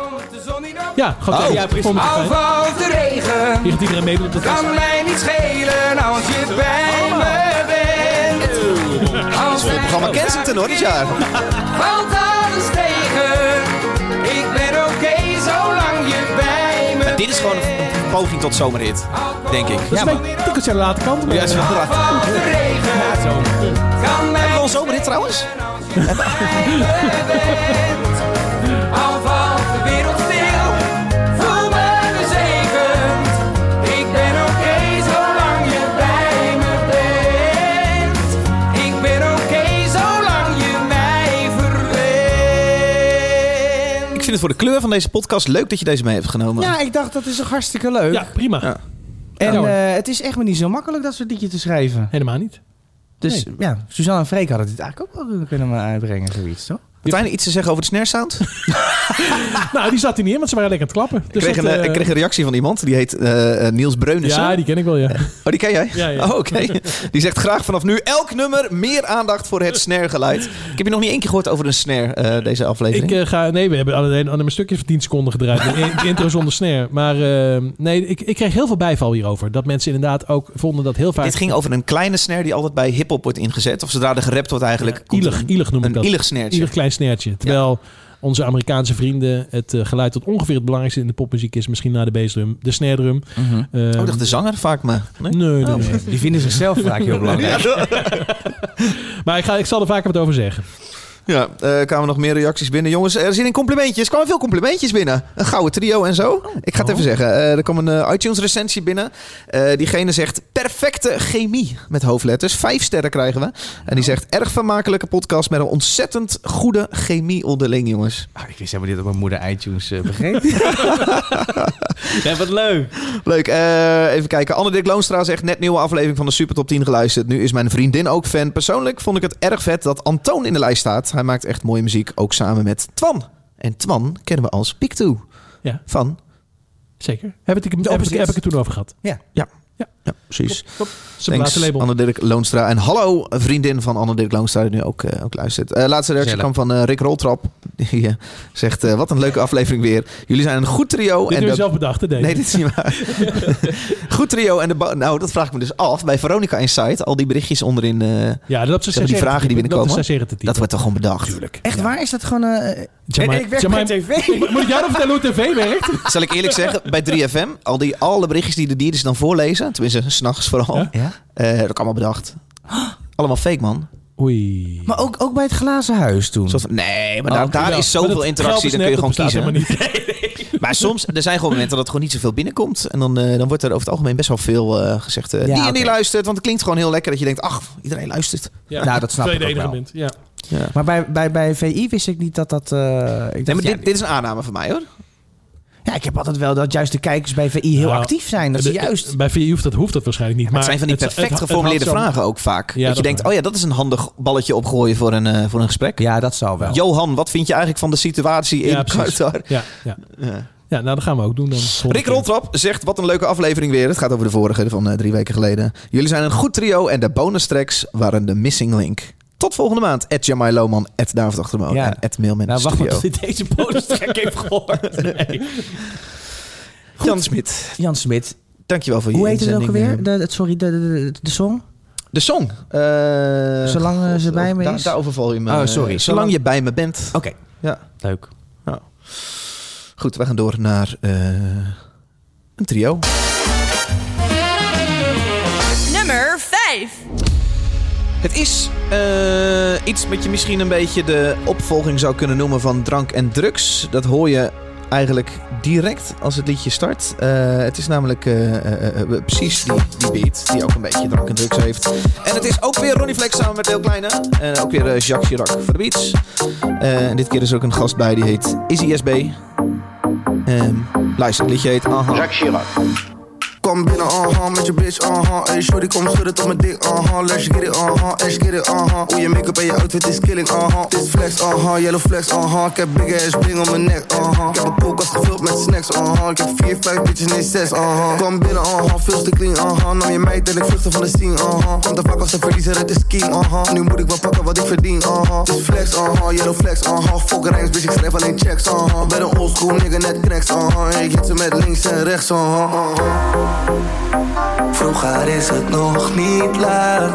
de zon niet op, Ja, gewoon Oh. ja, precies. al valt de regen. Hier gaat iedereen mee op de tas. Kan mij niet schelen als je bij me [LAUGHS] bent. Als het Programma Kensington hoor, dit jaar. Valt alles tegen. Ik ben oké zolang je bij me Dit is gewoon een een poging tot zomerhit, denk ik. Dat is een beetje tikkeltje aan de late kant. Maar, Ja, is wel raar. Hebben Valt de regen. Kan mij we al een zomerhit trouwens? bent. Al valt de wereld stil, voel me gezegend. Ik ben oké zolang je bij me bent. Ik ben oké zolang je mij Ik verwendt. vind het voor de kleur van deze podcast leuk dat je deze mee hebt genomen. Ja, ik dacht dat is toch hartstikke leuk. ja, prima. En Ja, hoor. eh, het is echt maar niet zo makkelijk dat soort liedje te schrijven. Helemaal niet. Dus ja, Suzanne en Freek hadden dit eigenlijk ook wel kunnen eh, uitbrengen, zoiets, toch? Martijn, iets te zeggen over de snare sound? Nou, die zat hij niet in, want ze waren lekker aan het klappen. Dus ik, kreeg een, eh, ik kreeg een reactie van iemand, die heet eh, eh, Niels Breunissen. Ja, die ken ik wel, ja. Oh, die ken jij? Ja, ja. [LAUGHS] Oh, oké. [LAUGHS] Die zegt graag vanaf nu elk nummer meer aandacht voor het snaregeluid. Ik heb je nog niet één keer gehoord over een snare, eh, deze aflevering. Ik eh, ga, nee, we hebben alleen alleen maar stukjes van 10 seconden gedraaid. De in- de intro zonder snare. Maar eh, nee, ik, ik kreeg heel veel bijval hierover. Dat mensen inderdaad ook vonden dat heel vaak... Dit ging over een kleine snare die altijd bij hip-hop wordt ingezet. Of zodra er gerapt wordt eigenlijk. komt er ilig, een, ilig noem ik een dat. ilig Oh, snaartje. Ieder klein snertje. Terwijl onze Amerikaanse vrienden het eh, geluid dat ongeveer het belangrijkste in de popmuziek is, misschien na de bassdrum, de snare drum. Ehm, Oh, ik Oh. dacht de zanger vaak maar. Nee? Nee, nee, nee. Die vinden [LAUGHS] zichzelf vaak heel belangrijk. Maar ik, ga, ik zal er vaker wat over zeggen. Ja, eh kwamen nog meer reacties binnen. Jongens, er zitten complimentjes. Er kwamen veel complimentjes binnen. Een gouden trio en zo. Ik ga het even zeggen. Eh, er kwam een eh, iTunes recensie binnen. Eh, diegene zegt perfecte chemie met hoofdletters. Vijf sterren krijgen we. En die zegt erg vermakelijke podcast met een ontzettend goede chemie onderling, jongens. Ah, ik wist helemaal niet dat mijn moeder iTunes eh, begreep. Ja, wat leuk. Leuk. eh, even kijken. Anne Dick Loonstra zegt net nieuwe aflevering van de Super Top 10 geluisterd. Nu is mijn vriendin ook fan. Persoonlijk vond ik het erg vet dat Antoon in de lijst staat. Hij maakt echt mooie muziek, ook samen met Twan. En Twan kennen we als Pictou. Ja. Van Zeker. Heb, het, heb, ik, heb ik het toen over gehad? Ja, precies. Thanks, label. Anne-Dirk Loonstra. En hallo, vriendin van Anne-Dirk Loonstra, die nu ook, eh, ook luistert. Eh, laatste reactie Gezellig. kwam van eh, Rick Roltrap. [LAUGHS] Die eh, zegt, eh, wat een leuke aflevering weer. Jullie zijn een goed trio. Dit en heb je de- zelf bedacht, hè, Dave? Nee, dit is [LAUGHS] niet waar. goed trio. En de ba- nou, dat vraag ik me dus af. Bij Veronica Insight, al die berichtjes onderin. eh, ja, dat is Zeg maar die vragen die binnenkomen. Dat is te dat wordt toch gewoon bedacht? Tuurlijk. [LAUGHS] Echt waar? Is dat gewoon... eh, Jamai- Jamai- Moet ik jou nog vertellen hoe tv [LAUGHS] werkt? Zal ik eerlijk zeggen, bij 3FM, al die, alle berichtjes die de dieren dan voorlezen, tenminste, s'nachts vooral, Ja. ja? eh, dat kan allemaal bedacht. Allemaal fake, man. Oei. Maar ook, ook bij het glazen huis toen. Soort van, nee, maar Oh, daar, oké, daar wel. is Maar zoveel dat interactie, dan kun je geld gewoon is net, kiezen. dat bestaat helemaal [LAUGHS] Maar soms, er zijn gewoon momenten dat het gewoon niet zoveel binnenkomt. En dan, eh, dan wordt er over het algemeen best wel veel eh, gezegd. eh, Ja, die en die oké. luistert, want het klinkt gewoon heel lekker dat je denkt, ach, iedereen luistert. niet. Ja. Nou, dat snap Tweede ik ook enige wel. bent, ja. Maar bij, bij, bij VI wist ik niet dat dat... eh, ik dacht, Nee, maar ja, dit, dit is een aanname van mij hoor. ja, ik heb altijd wel dat juist de kijkers bij VI heel Nou, actief zijn. Dat is De- juist... Bij VI hoeft dat, hoeft dat waarschijnlijk niet. Maar het zijn van die het- perfect het- het geformuleerde had zo- vragen ook vaak. Ja, dat je dat denkt, waar. oh ja, dat is een handig balletje opgooien voor een, eh, voor een gesprek. Ja, dat zal wel. Johan, wat vind je eigenlijk van de situatie in Ja, precies. Qatar? Ja, ja. Ja. ja, nou dat gaan we ook doen dan. Rick [LAUGHS] Roltrap zegt, wat een leuke aflevering weer. Het gaat over de vorige van eh, drie weken geleden. Jullie zijn een goed trio en de bonus tracks waren de missing link. Tot volgende maand. At Jamai Lohman, at David Achtermoon Ja. en at Mailman Nou, wacht Studio. [LAUGHS] maar Dit deze bonus track heeft gehoord. Nee. Jan Smit, Jan Smit. eh. dankjewel voor je Hoe heet het ook inzending. eh. alweer? De, het- sorry, de, de, de, de song? De song. Eh, Zolang eh, ze God, bij me daar- is. Daar overval je me. eh, Oh, sorry. Zolang, Zolang je bij me bent. Oké. Ja. Leuk. Goed, we gaan door naar eh, een trio. Nummer 5. Het is eh, iets wat je misschien een beetje de opvolging zou kunnen noemen van drank en drugs. Dat hoor je eigenlijk direct als het liedje start. Eh, het is namelijk eh, eh, eh, precies die, die beat die ook een beetje drank en drugs heeft. En het is ook weer Ronnie Flex samen met Deel Kleine. En ook weer eh, Jacques Chirac voor de beats. Eh, en dit keer is er ook een gast bij die heet Izzy SB. Ehm, luister, het liedje heet Aha. Kom binnen, aha, met je bitch, aha. Hey, shorty, kom schudden tot mijn dik, aha. Let's get it, aha, let's get it, aha. Hoe je make-up en je outfit is killing, aha. Dit flex, aha, yellow flex, aha. Ik heb big ass ring om mijn nek, aha. Ik heb een koelkast gevuld met snacks, aha. Ik heb vier, vijf bitches, nee, zes, aha. Kom binnen, aha, veel te clean, aha. Nam je meid en ik vluchtte van de scene, aha. Komt te vaak als een verliezer, het is king, aha. Nu moet ik wel pakken wat ik verdien, aha. Dit flex, aha, yellow flex, aha. Fuck rijms, bitch, ik schrijf alleen checks, aha. Ben een old school nigga, net cracks, aha. Ik hit ze met links en rechts, uh-huh. aha. aha. Vroeger is het nog niet laat.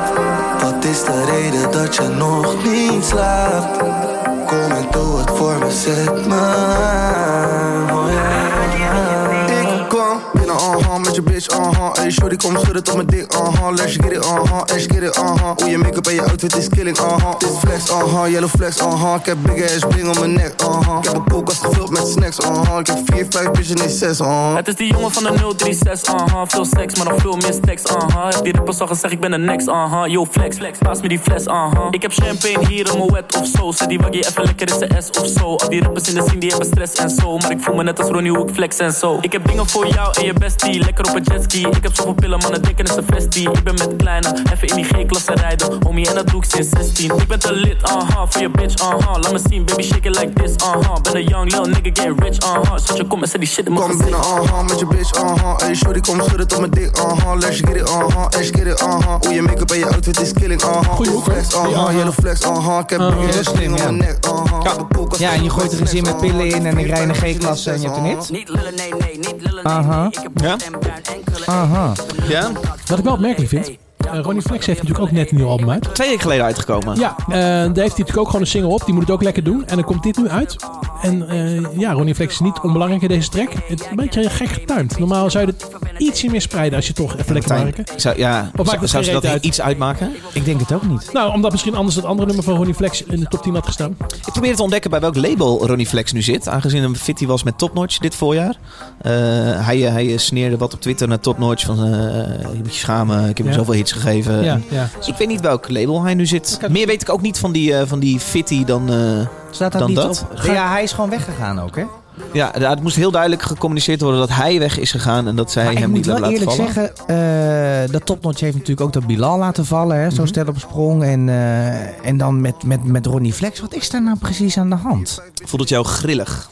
Wat is de reden dat je nog niet slaapt? Kom en doe het voor me, zet me aan, oh ja. Ik kwam binnen, aha, met je bitch, aha. Hey, shorty, kom schudden tot mijn dik, aha. Let's get it, aha, let's get it, aha. Hoe je make-up en je outfit is killing, aha. Dit flex, aha, yellow flex, aha. Ik heb big ass bling om mijn nek, aha. Ik heb een koelkast gevuld met snacks, aha. Ik heb 4, 5, bitches, nee 6, aha. Het is die jongen van de 036, aha. uh-huh, Veel seks, maar nog veel meer stacks, aha. Heb die rappers al gezegd, ik ben de next, aha. Yo, flex, flex, paas me die fles, aha. Ik heb champagne hier in mijn wet of zo. Zet die waggie even lekker in zijn S of zo. Al die rappers in de scene, die hebben stress en zo. Maar ik voel me net als Ronnie, hoe ik flex en zo. Ik heb dingen voor jou en je bestie. Lekker op het jetski. Ik heb zoveel pillen, mannen denken is een vestie. Ik ben met kleine, even in die G-klasse rijden. Homie, en dat doe ik sinds 16. Ik ben te lit, aha, voor je bitch, aha. Laat me zien, baby, shake it like this, aha. Ben een young lil nigga, get rich, aha. Zet je kom en zet die shit in mijn Kom binnen, aha, met je bitch, aha. Ey, shorty, kom schudden tot mijn dik, aha. Let's get it, aha, let's get it, aha. Hoe je make-up en je outfit is killing, aha. Goeie flex, aha, yellow flex, aha. Ik heb heel een slim, slim om Uh-huh. ja. mijn nek, uh-huh. aha. Ja, en je gooit er een zin met uh-huh. pillen in en ik rij in een G-klasse en je hebt er niks. Aha. Ja? Aha. Ja? Wat ik wel opmerkelijk vind. eh, Ronnie Flex heeft natuurlijk ook net een nieuw album uit. Twee weken geleden uitgekomen. Ja, eh, daar heeft hij natuurlijk ook gewoon een single op. Die moet het ook lekker doen. En dan komt dit nu uit. En eh, ja, Ronnie Flex is niet onbelangrijk in deze track. Het is een beetje gek getimed. Normaal zou je het ietsje meer spreiden als je toch even lekker werken. Zou, ja, Of maakt zou, het zou ze geen dat reet uit? iets uitmaken? Ik denk het ook niet. Nou, omdat misschien anders dat andere nummer van Ronnie Flex in de top 10 had gestaan. Ik probeer te ontdekken bij welk label Ronnie Flex nu zit. Aangezien hem fitty was met Topnotch dit voorjaar. Eh, hij, eh, hij eh, sneerde wat op Twitter naar Topnotch. Van eh, je moet je schamen, ik heb hem Ja. zoveel hits gegeven. Ja, En- ja. Dus ik weet niet welk label hij nu zit. Meer weet ik ook niet van die, eh, van die fitty dan, eh, Staat dat dan niet dat. op? Ga- Ja, hij is gewoon weggegaan ook, hè? Ja, ja, het moest heel duidelijk gecommuniceerd worden dat hij weg is gegaan. En dat zij Maar hem ik moet niet wel hebben laten eerlijk vallen. zeggen, eh, dat topnotch heeft natuurlijk ook dat Bilal laten vallen. hè, Zo stel op sprong. En, eh, en dan met, met, met Ronnie Flex. Wat is daar nou precies aan de hand? Voelt het jou grillig?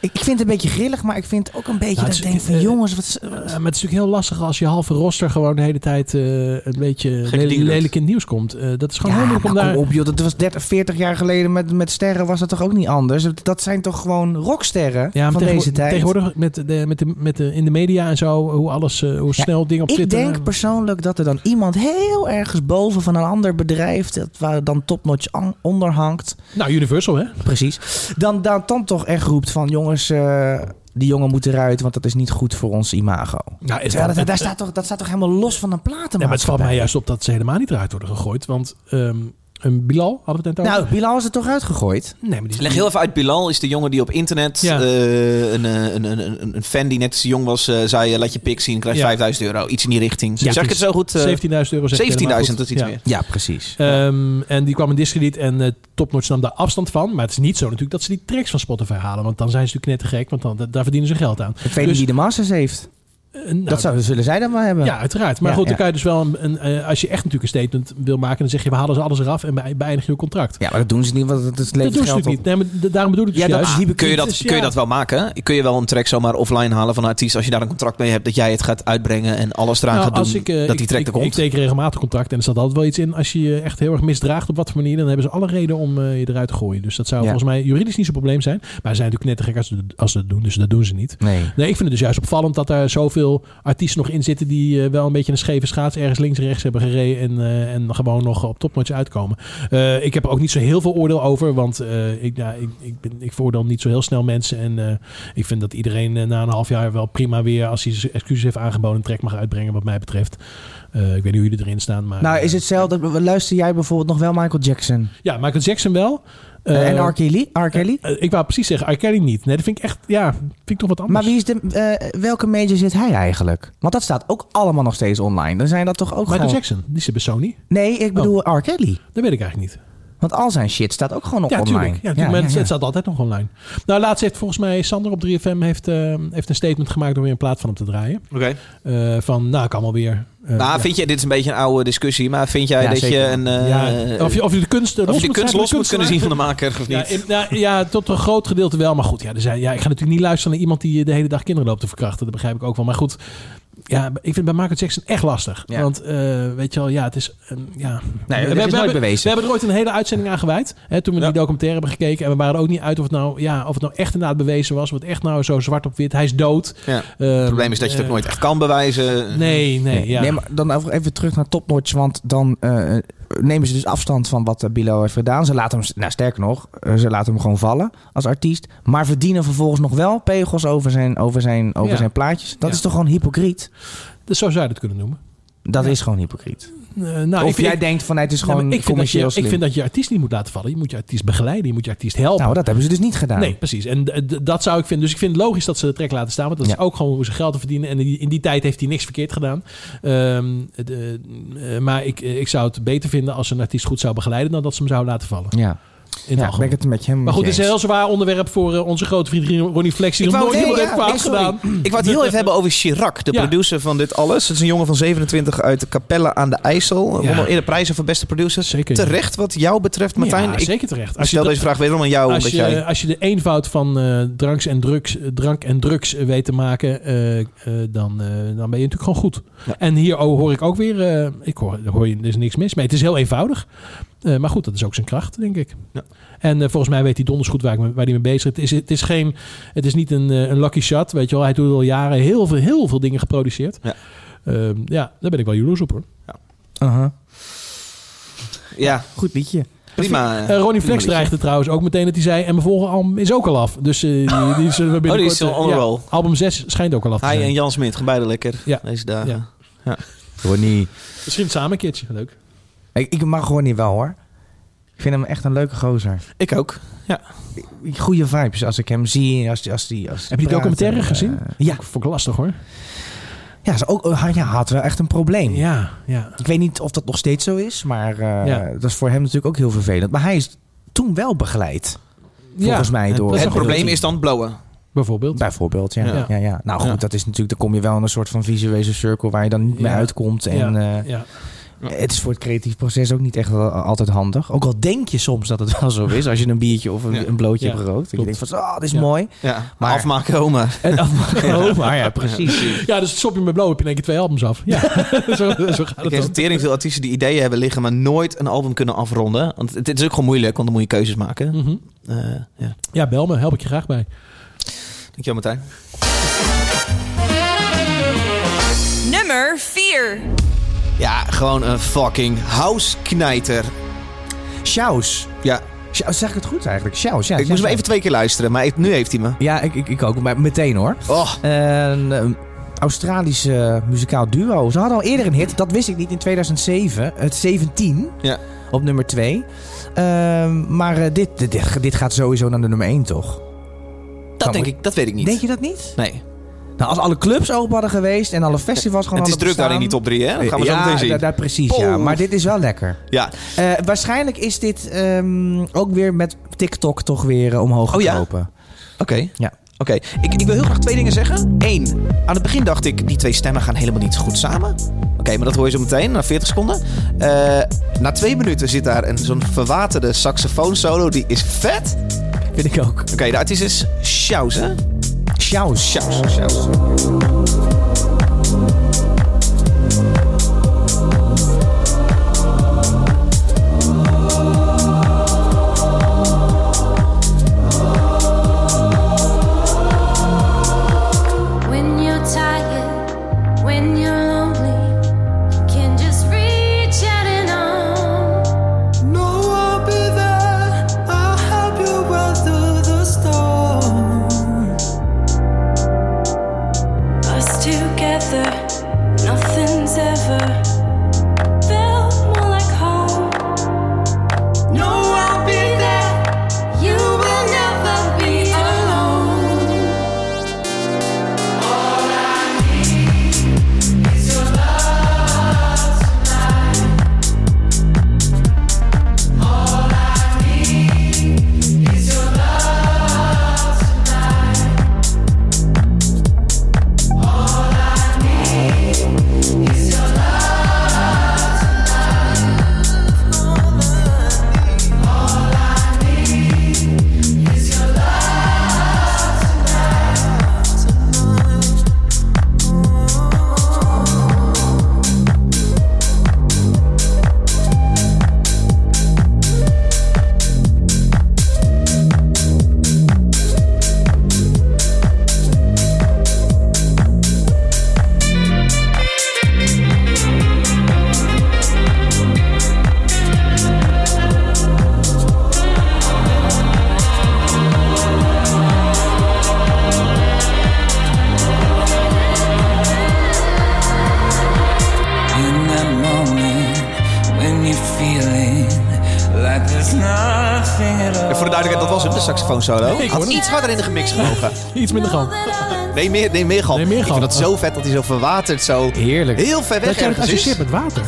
Ik, ik vind het een beetje grillig, maar ik vind het ook een beetje Nou, dat het is- ik denk van eh, jongens, wat... Eh, maar het is natuurlijk heel lastig als je halve roster gewoon de hele tijd eh, een beetje ding lelijk, doet. lelijk in het nieuws komt. Eh, dat is gewoon heel moeilijk om nou, daar... kom op joh, dat was 30, 40 jaar geleden met, met sterren was dat toch ook niet anders? Dat zijn toch gewoon rocksterren Ja, maar van tegenwo- deze tijd? tegenwoordig met de, met de, met de, in de media en zo, hoe alles, eh, hoe snel dingen op Ik Twitter... eh, denk persoonlijk dat er dan iemand heel ergens boven van een ander bedrijf, dat waar dan topnotch an- onder hangt, Nou, Universal hè? precies, dan, dan, dan toch echt roept van jongens, eh, die jongen moet eruit, want dat is niet goed voor ons imago. Nou, is Terwijl dat- dat, daar staat toch, dat staat toch helemaal los van een platenmaatschappij? Ja, maar het valt mij juist op dat ze helemaal niet eruit worden gegooid. Want ehm, een Bilal hadden we het net over. Nou, Bilal is er toch uitgegooid? nee, maar die Leg heel even uit, Bilal is de jongen die op internet Ja. eh, een, eh, een, een, een- een fan die net zo jong was, eh, zei eh, laat je pik zien, krijg Ja. 5000 euro. Iets in die richting. Ja, zeg ik het precies. zo goed? eh, 17.000 euro. zegt 17.000, Telema. dat is iets Ja. meer. Ja, precies. Ehm, en die kwam in discrediet en eh Topnotch nam daar afstand van. Maar het is niet zo natuurlijk dat ze die tracks van Spotify halen. Want dan zijn ze natuurlijk net te gek, want dan, da- daar verdienen ze geld aan. Ik weet Dus- niet wie de masters heeft. Eh, nou, dat zouden, zullen zij dan wel hebben. Ja, uiteraard. Maar Ja, goed, ja. dan kan je dus wel, een, een, eh, als je echt natuurlijk een statement wil maken, dan zeg je we halen ze alles eraf en be- beëindigen je contract. Ja, maar dat doen ze niet, want het dat levert doen ze geld natuurlijk op. niet. Nee, maar d- daarom bedoel ik dus Ja, dat juist. is Ah, kun, je dat, Dus ja. kun je dat wel maken? Kun je wel een track zomaar offline halen van een artiest als je daar een contract mee hebt dat jij het gaat uitbrengen en alles eraan Nou, gaat als doen ik, eh, dat ik- die track er ik, komt? Ik teken regelmatig contact en er staat altijd wel iets in. Als je je echt heel erg misdraagt op wat voor manier, dan hebben ze alle reden om eh, je eruit te gooien. Dus dat zou Ja. volgens mij juridisch niet zo'n probleem zijn. Maar ze zijn natuurlijk net te gek als ze, als ze dat doen, dus dat doen ze niet. Nee. Nee, ik vind het dus juist opvallend dat daar zoveel artiesten nog in zitten die eh, wel een beetje een scheve schaats ergens links en rechts hebben gereden en, eh, en gewoon nog op topnotch uitkomen. Eh, ik heb er ook niet zo heel veel oordeel over, want eh, ik, ja, ik, ik, ben, ik veroordeel niet zo heel snel mensen. En eh, ik vind dat iedereen eh, na een half jaar wel prima weer, als hij zijn excuses heeft aangeboden, een track mag uitbrengen wat mij betreft. Eh, ik weet niet hoe jullie erin staan, maar... eh, Nou, is het hetzelfde. Luister jij bijvoorbeeld nog wel Michael Jackson? Ja, Michael Jackson wel. Eh, Eh, en R. Kelly? R. Kelly? eh, ik wou precies zeggen, R. Kelly niet. Nee, dat vind ik echt, ja, vind ik toch wat anders. Maar wie is de, eh, welke major zit hij eigenlijk? Want dat staat ook allemaal nog steeds online. Dan zijn dat toch ook Michael gewoon... Jackson, die zit bij Sony. Nee, ik bedoel Oh. R. Kelly. Dat weet ik eigenlijk niet. Want al zijn shit staat ook gewoon nog Ja, online. natuurlijk. Ja, tuurlijk, maar het- Het staat altijd nog online. Nou, laatst heeft volgens mij Sander op 3FM heeft, eh, heeft een statement gemaakt door weer een plaat van hem te draaien. Oké. Eh, van, nou, ik kan wel weer. Eh, nou, ja. vind je, dit is een beetje een oude discussie, maar vind jij Ja, dat zeker. je een... eh, Ja, of, je, of je de kunst eh, of los je de moet kunst zijn, los moet kunnen zien van de kunstenaar. maker of Ja, niet? in- nou, ja, tot een groot gedeelte wel. Maar goed, ja, er zijn, ja, ik ga natuurlijk niet luisteren naar iemand die eh, de hele dag kinderen loopt te verkrachten. Dat begrijp ik ook wel. Maar goed, ja, ik vind het bij Michael Jackson echt lastig. Ja. Want eh, weet je wel, ja, het is... ehm, ja. Nee, dat is we, nooit hebben, bewezen. we hebben er ooit een hele uitzending aan gewijd. Hè, toen we die documentaire hebben gekeken. En we waren er ook niet uit of het nou, ja, of het nou echt inderdaad bewezen was. Wat echt nou zo zwart op wit. Hij is dood. Ja. Ehm, Het probleem is dat je het ook eh, nooit echt kan bewijzen. Nee, nee, ja. Nee, maar dan over- even terug naar topnotch. Want dan eh, nemen ze dus afstand van wat eh, Bilo heeft gedaan. Ze laten hem, nou sterker nog, eh, ze laten hem gewoon vallen als artiest. Maar verdienen vervolgens nog wel pegels over zijn, over zijn, over Ja. zijn plaatjes. Dat Ja. is toch gewoon hypocriet? Dus zo zou je het kunnen noemen. Dat is gewoon hypocriet. Eh, nou, of ik- jij ik- denkt van nee, het is nou, maar gewoon ik vind, dat commercieel je, ik slim. vind dat je artiest niet moet laten vallen. Je moet je artiest begeleiden. Je moet je artiest helpen. Nou, dat hebben ze dus niet gedaan. Nee, precies. En d- d- dat zou ik vinden. Dus ik vind het logisch dat ze de trek laten staan. Want dat Ja. is ook gewoon hoe ze geld te verdienen. En in die, in die tijd heeft hij niks verkeerd gedaan. Ehm, eh, de- eh, maar ik, ik zou het beter vinden als ze een artiest goed zou begeleiden... dan dat ze hem zou laten vallen. Ja. In het Ja, ben algemeen. ik het met je helemaal Maar goed, dus mee het is een eens. heel zwaar onderwerp voor eh, onze grote vriend Ronnie Flex. Die nog nooit iemand heeft kwaad gedaan. Ik wou het heel even hebben over Chirac, de Ja. producer van dit alles. Het is een jongen van 27 uit Capelle aan de IJssel. Ja. Won al eerder prijzen voor beste producer. Zeker. Terecht wat jou betreft, Martijn. Ja, Ik zeker terecht. Als stel dat- deze vraag wederom aan jou. Als omdat je, jij... als je de eenvoud van eh, dranks en drugs, eh, drank en drugs eh, weet te maken, eh, eh, dan, eh, dan ben je natuurlijk gewoon goed. En hier oh, hoor ik ook weer, eh, ik hoor, daar hoor je, er is niks mis mee. Het is heel eenvoudig. Eh, maar goed, dat is ook zijn kracht, denk ik. En eh, volgens mij weet hij donders goed waar, ik me- waar hij mee bezig is. Het is, het is, geen, het is niet een, eh, een lucky shot, weet je wel. Hij doet al jaren heel veel, heel veel dingen geproduceerd. Ehm, Ja. ja, daar ben ik wel jaloers op hoor. Aha. Ja. Uh-huh. Goed liedje. Prima. Eh, Ronnie Flex dreigde trouwens ook meteen dat hij zei... en mijn volgende album is ook al af. Dus eh, die, die Oh, zullen we binnenkort... die is al on eh, ja, roll. album 6 schijnt ook al af te Hij zijn. en Jan Smit, gaan beide lekker deze dagen. Ja. Ronnie. Misschien samen een keertje. Leuk. Ik, ik mag Ronnie wel hoor. Ik vind hem echt een leuke gozer. Ik ook. Ja. Goede vibes als ik hem zie. Als die, als die, als die Heb je die praat. documentaire Eh, gezien? ja. Vond ik lastig hoor. Ja, ze ook, eh, ja, had wel echt een probleem. Ja, ja. Ik weet niet of dat nog steeds zo is, maar eh, Ja. dat is voor hem natuurlijk ook heel vervelend. Maar hij is toen wel begeleid. Volgens mij door. Het probleem is dan blowen. Bijvoorbeeld. Bijvoorbeeld, ja. Ja. ja. ja, Nou goed, Ja. dat is natuurlijk, dan kom je wel in een soort van visuele cirkel waar je dan niet meer Ja. uitkomt. En, Ja, eh, ja. Het is voor het creatief proces ook niet echt wel altijd handig. Ook al denk je soms dat het [LAUGHS] wel zo is als je een biertje of een, Ja. een blootje Ja, hebt gerookt. Dat je klopt. denkt van, oh, dit is Ja. mooi. Ja. Maar afmaken, oma. En [LAUGHS] afmaken, oma, ja, Ja, dus het Soppie met Blauw heb je in één keer twee albums af. Ja, [LAUGHS] zo, zo gaat Ik het heb dan. tering veel artiesten die ideeën hebben liggen, maar nooit een album kunnen afronden. Want het, het is ook gewoon moeilijk, want dan moet je keuzes maken. Mhm. Eh, ja. Ja, bel me. Help ik je graag bij. Dankjewel Martijn. Nummer 4. Ja, gewoon een fucking houseknijter. Sjaus. Ja. Sjaus, zeg ik het goed eigenlijk? Sjaus, ja. ik moest hem even twee keer luisteren, maar ik- nu heeft hij me. Ja, ik, ik, ik ook, maar meteen hoor. Oh. Een eh, Australische eh, muzikaal duo. Ze hadden al eerder een hit, dat wist ik niet, in 2007. Het 17 Ja. op nummer 2. maar eh, dit, dit, dit gaat sowieso naar de nummer 1, toch? Dat denk ik, dat weet ik niet. Denk je dat niet? Nee. Nou, als alle clubs open hadden geweest en alle festivals gewoon het is hadden druk daar in die top bestaan- 3, hè? Dat gaan we zo ja, meteen zien. daar- daar precies, ja. Poeh. Maar dit is wel lekker. Ja. Eh, waarschijnlijk is dit ehm, ook weer met TikTok toch weer eh, omhoog Oh ja? gekropen. Oké. Ja. Oké, ik, ik wil heel graag twee dingen zeggen. Eén, aan het begin dacht ik, die twee stemmen gaan helemaal niet goed samen. Oké, maar dat hoor je zo meteen, na 40 seconden. Eh, na twee minuten zit daar een, zo'n verwaterde saxofoonsolo, die is vet. Vind ik ook. Oké, de artiest is Sjaus, hè? Sjaus. Sjaus, Sjaus. When you're tired, when you're lonely, you can just reach out and on. No, I'll be there. I'll help you weather the storm. Us together, nothing's ever felt more like home. No, I'll be there. You will never be alone. All I need is your love tonight. All I need is your love tonight. In that moment when you're feeling like there's nothing at all. En voor de duidelijkheid, dat was hem, de saxofoonsolo. Ik hoor Had hem. iets harder in de gemix gemogen. Iets minder gal. Nee, meer, nee, meer gal. ik vind dat zo vet dat hij zo verwaterd, zo Heerlijk. heel ver weg Dat jij het ergens is. associeert met water.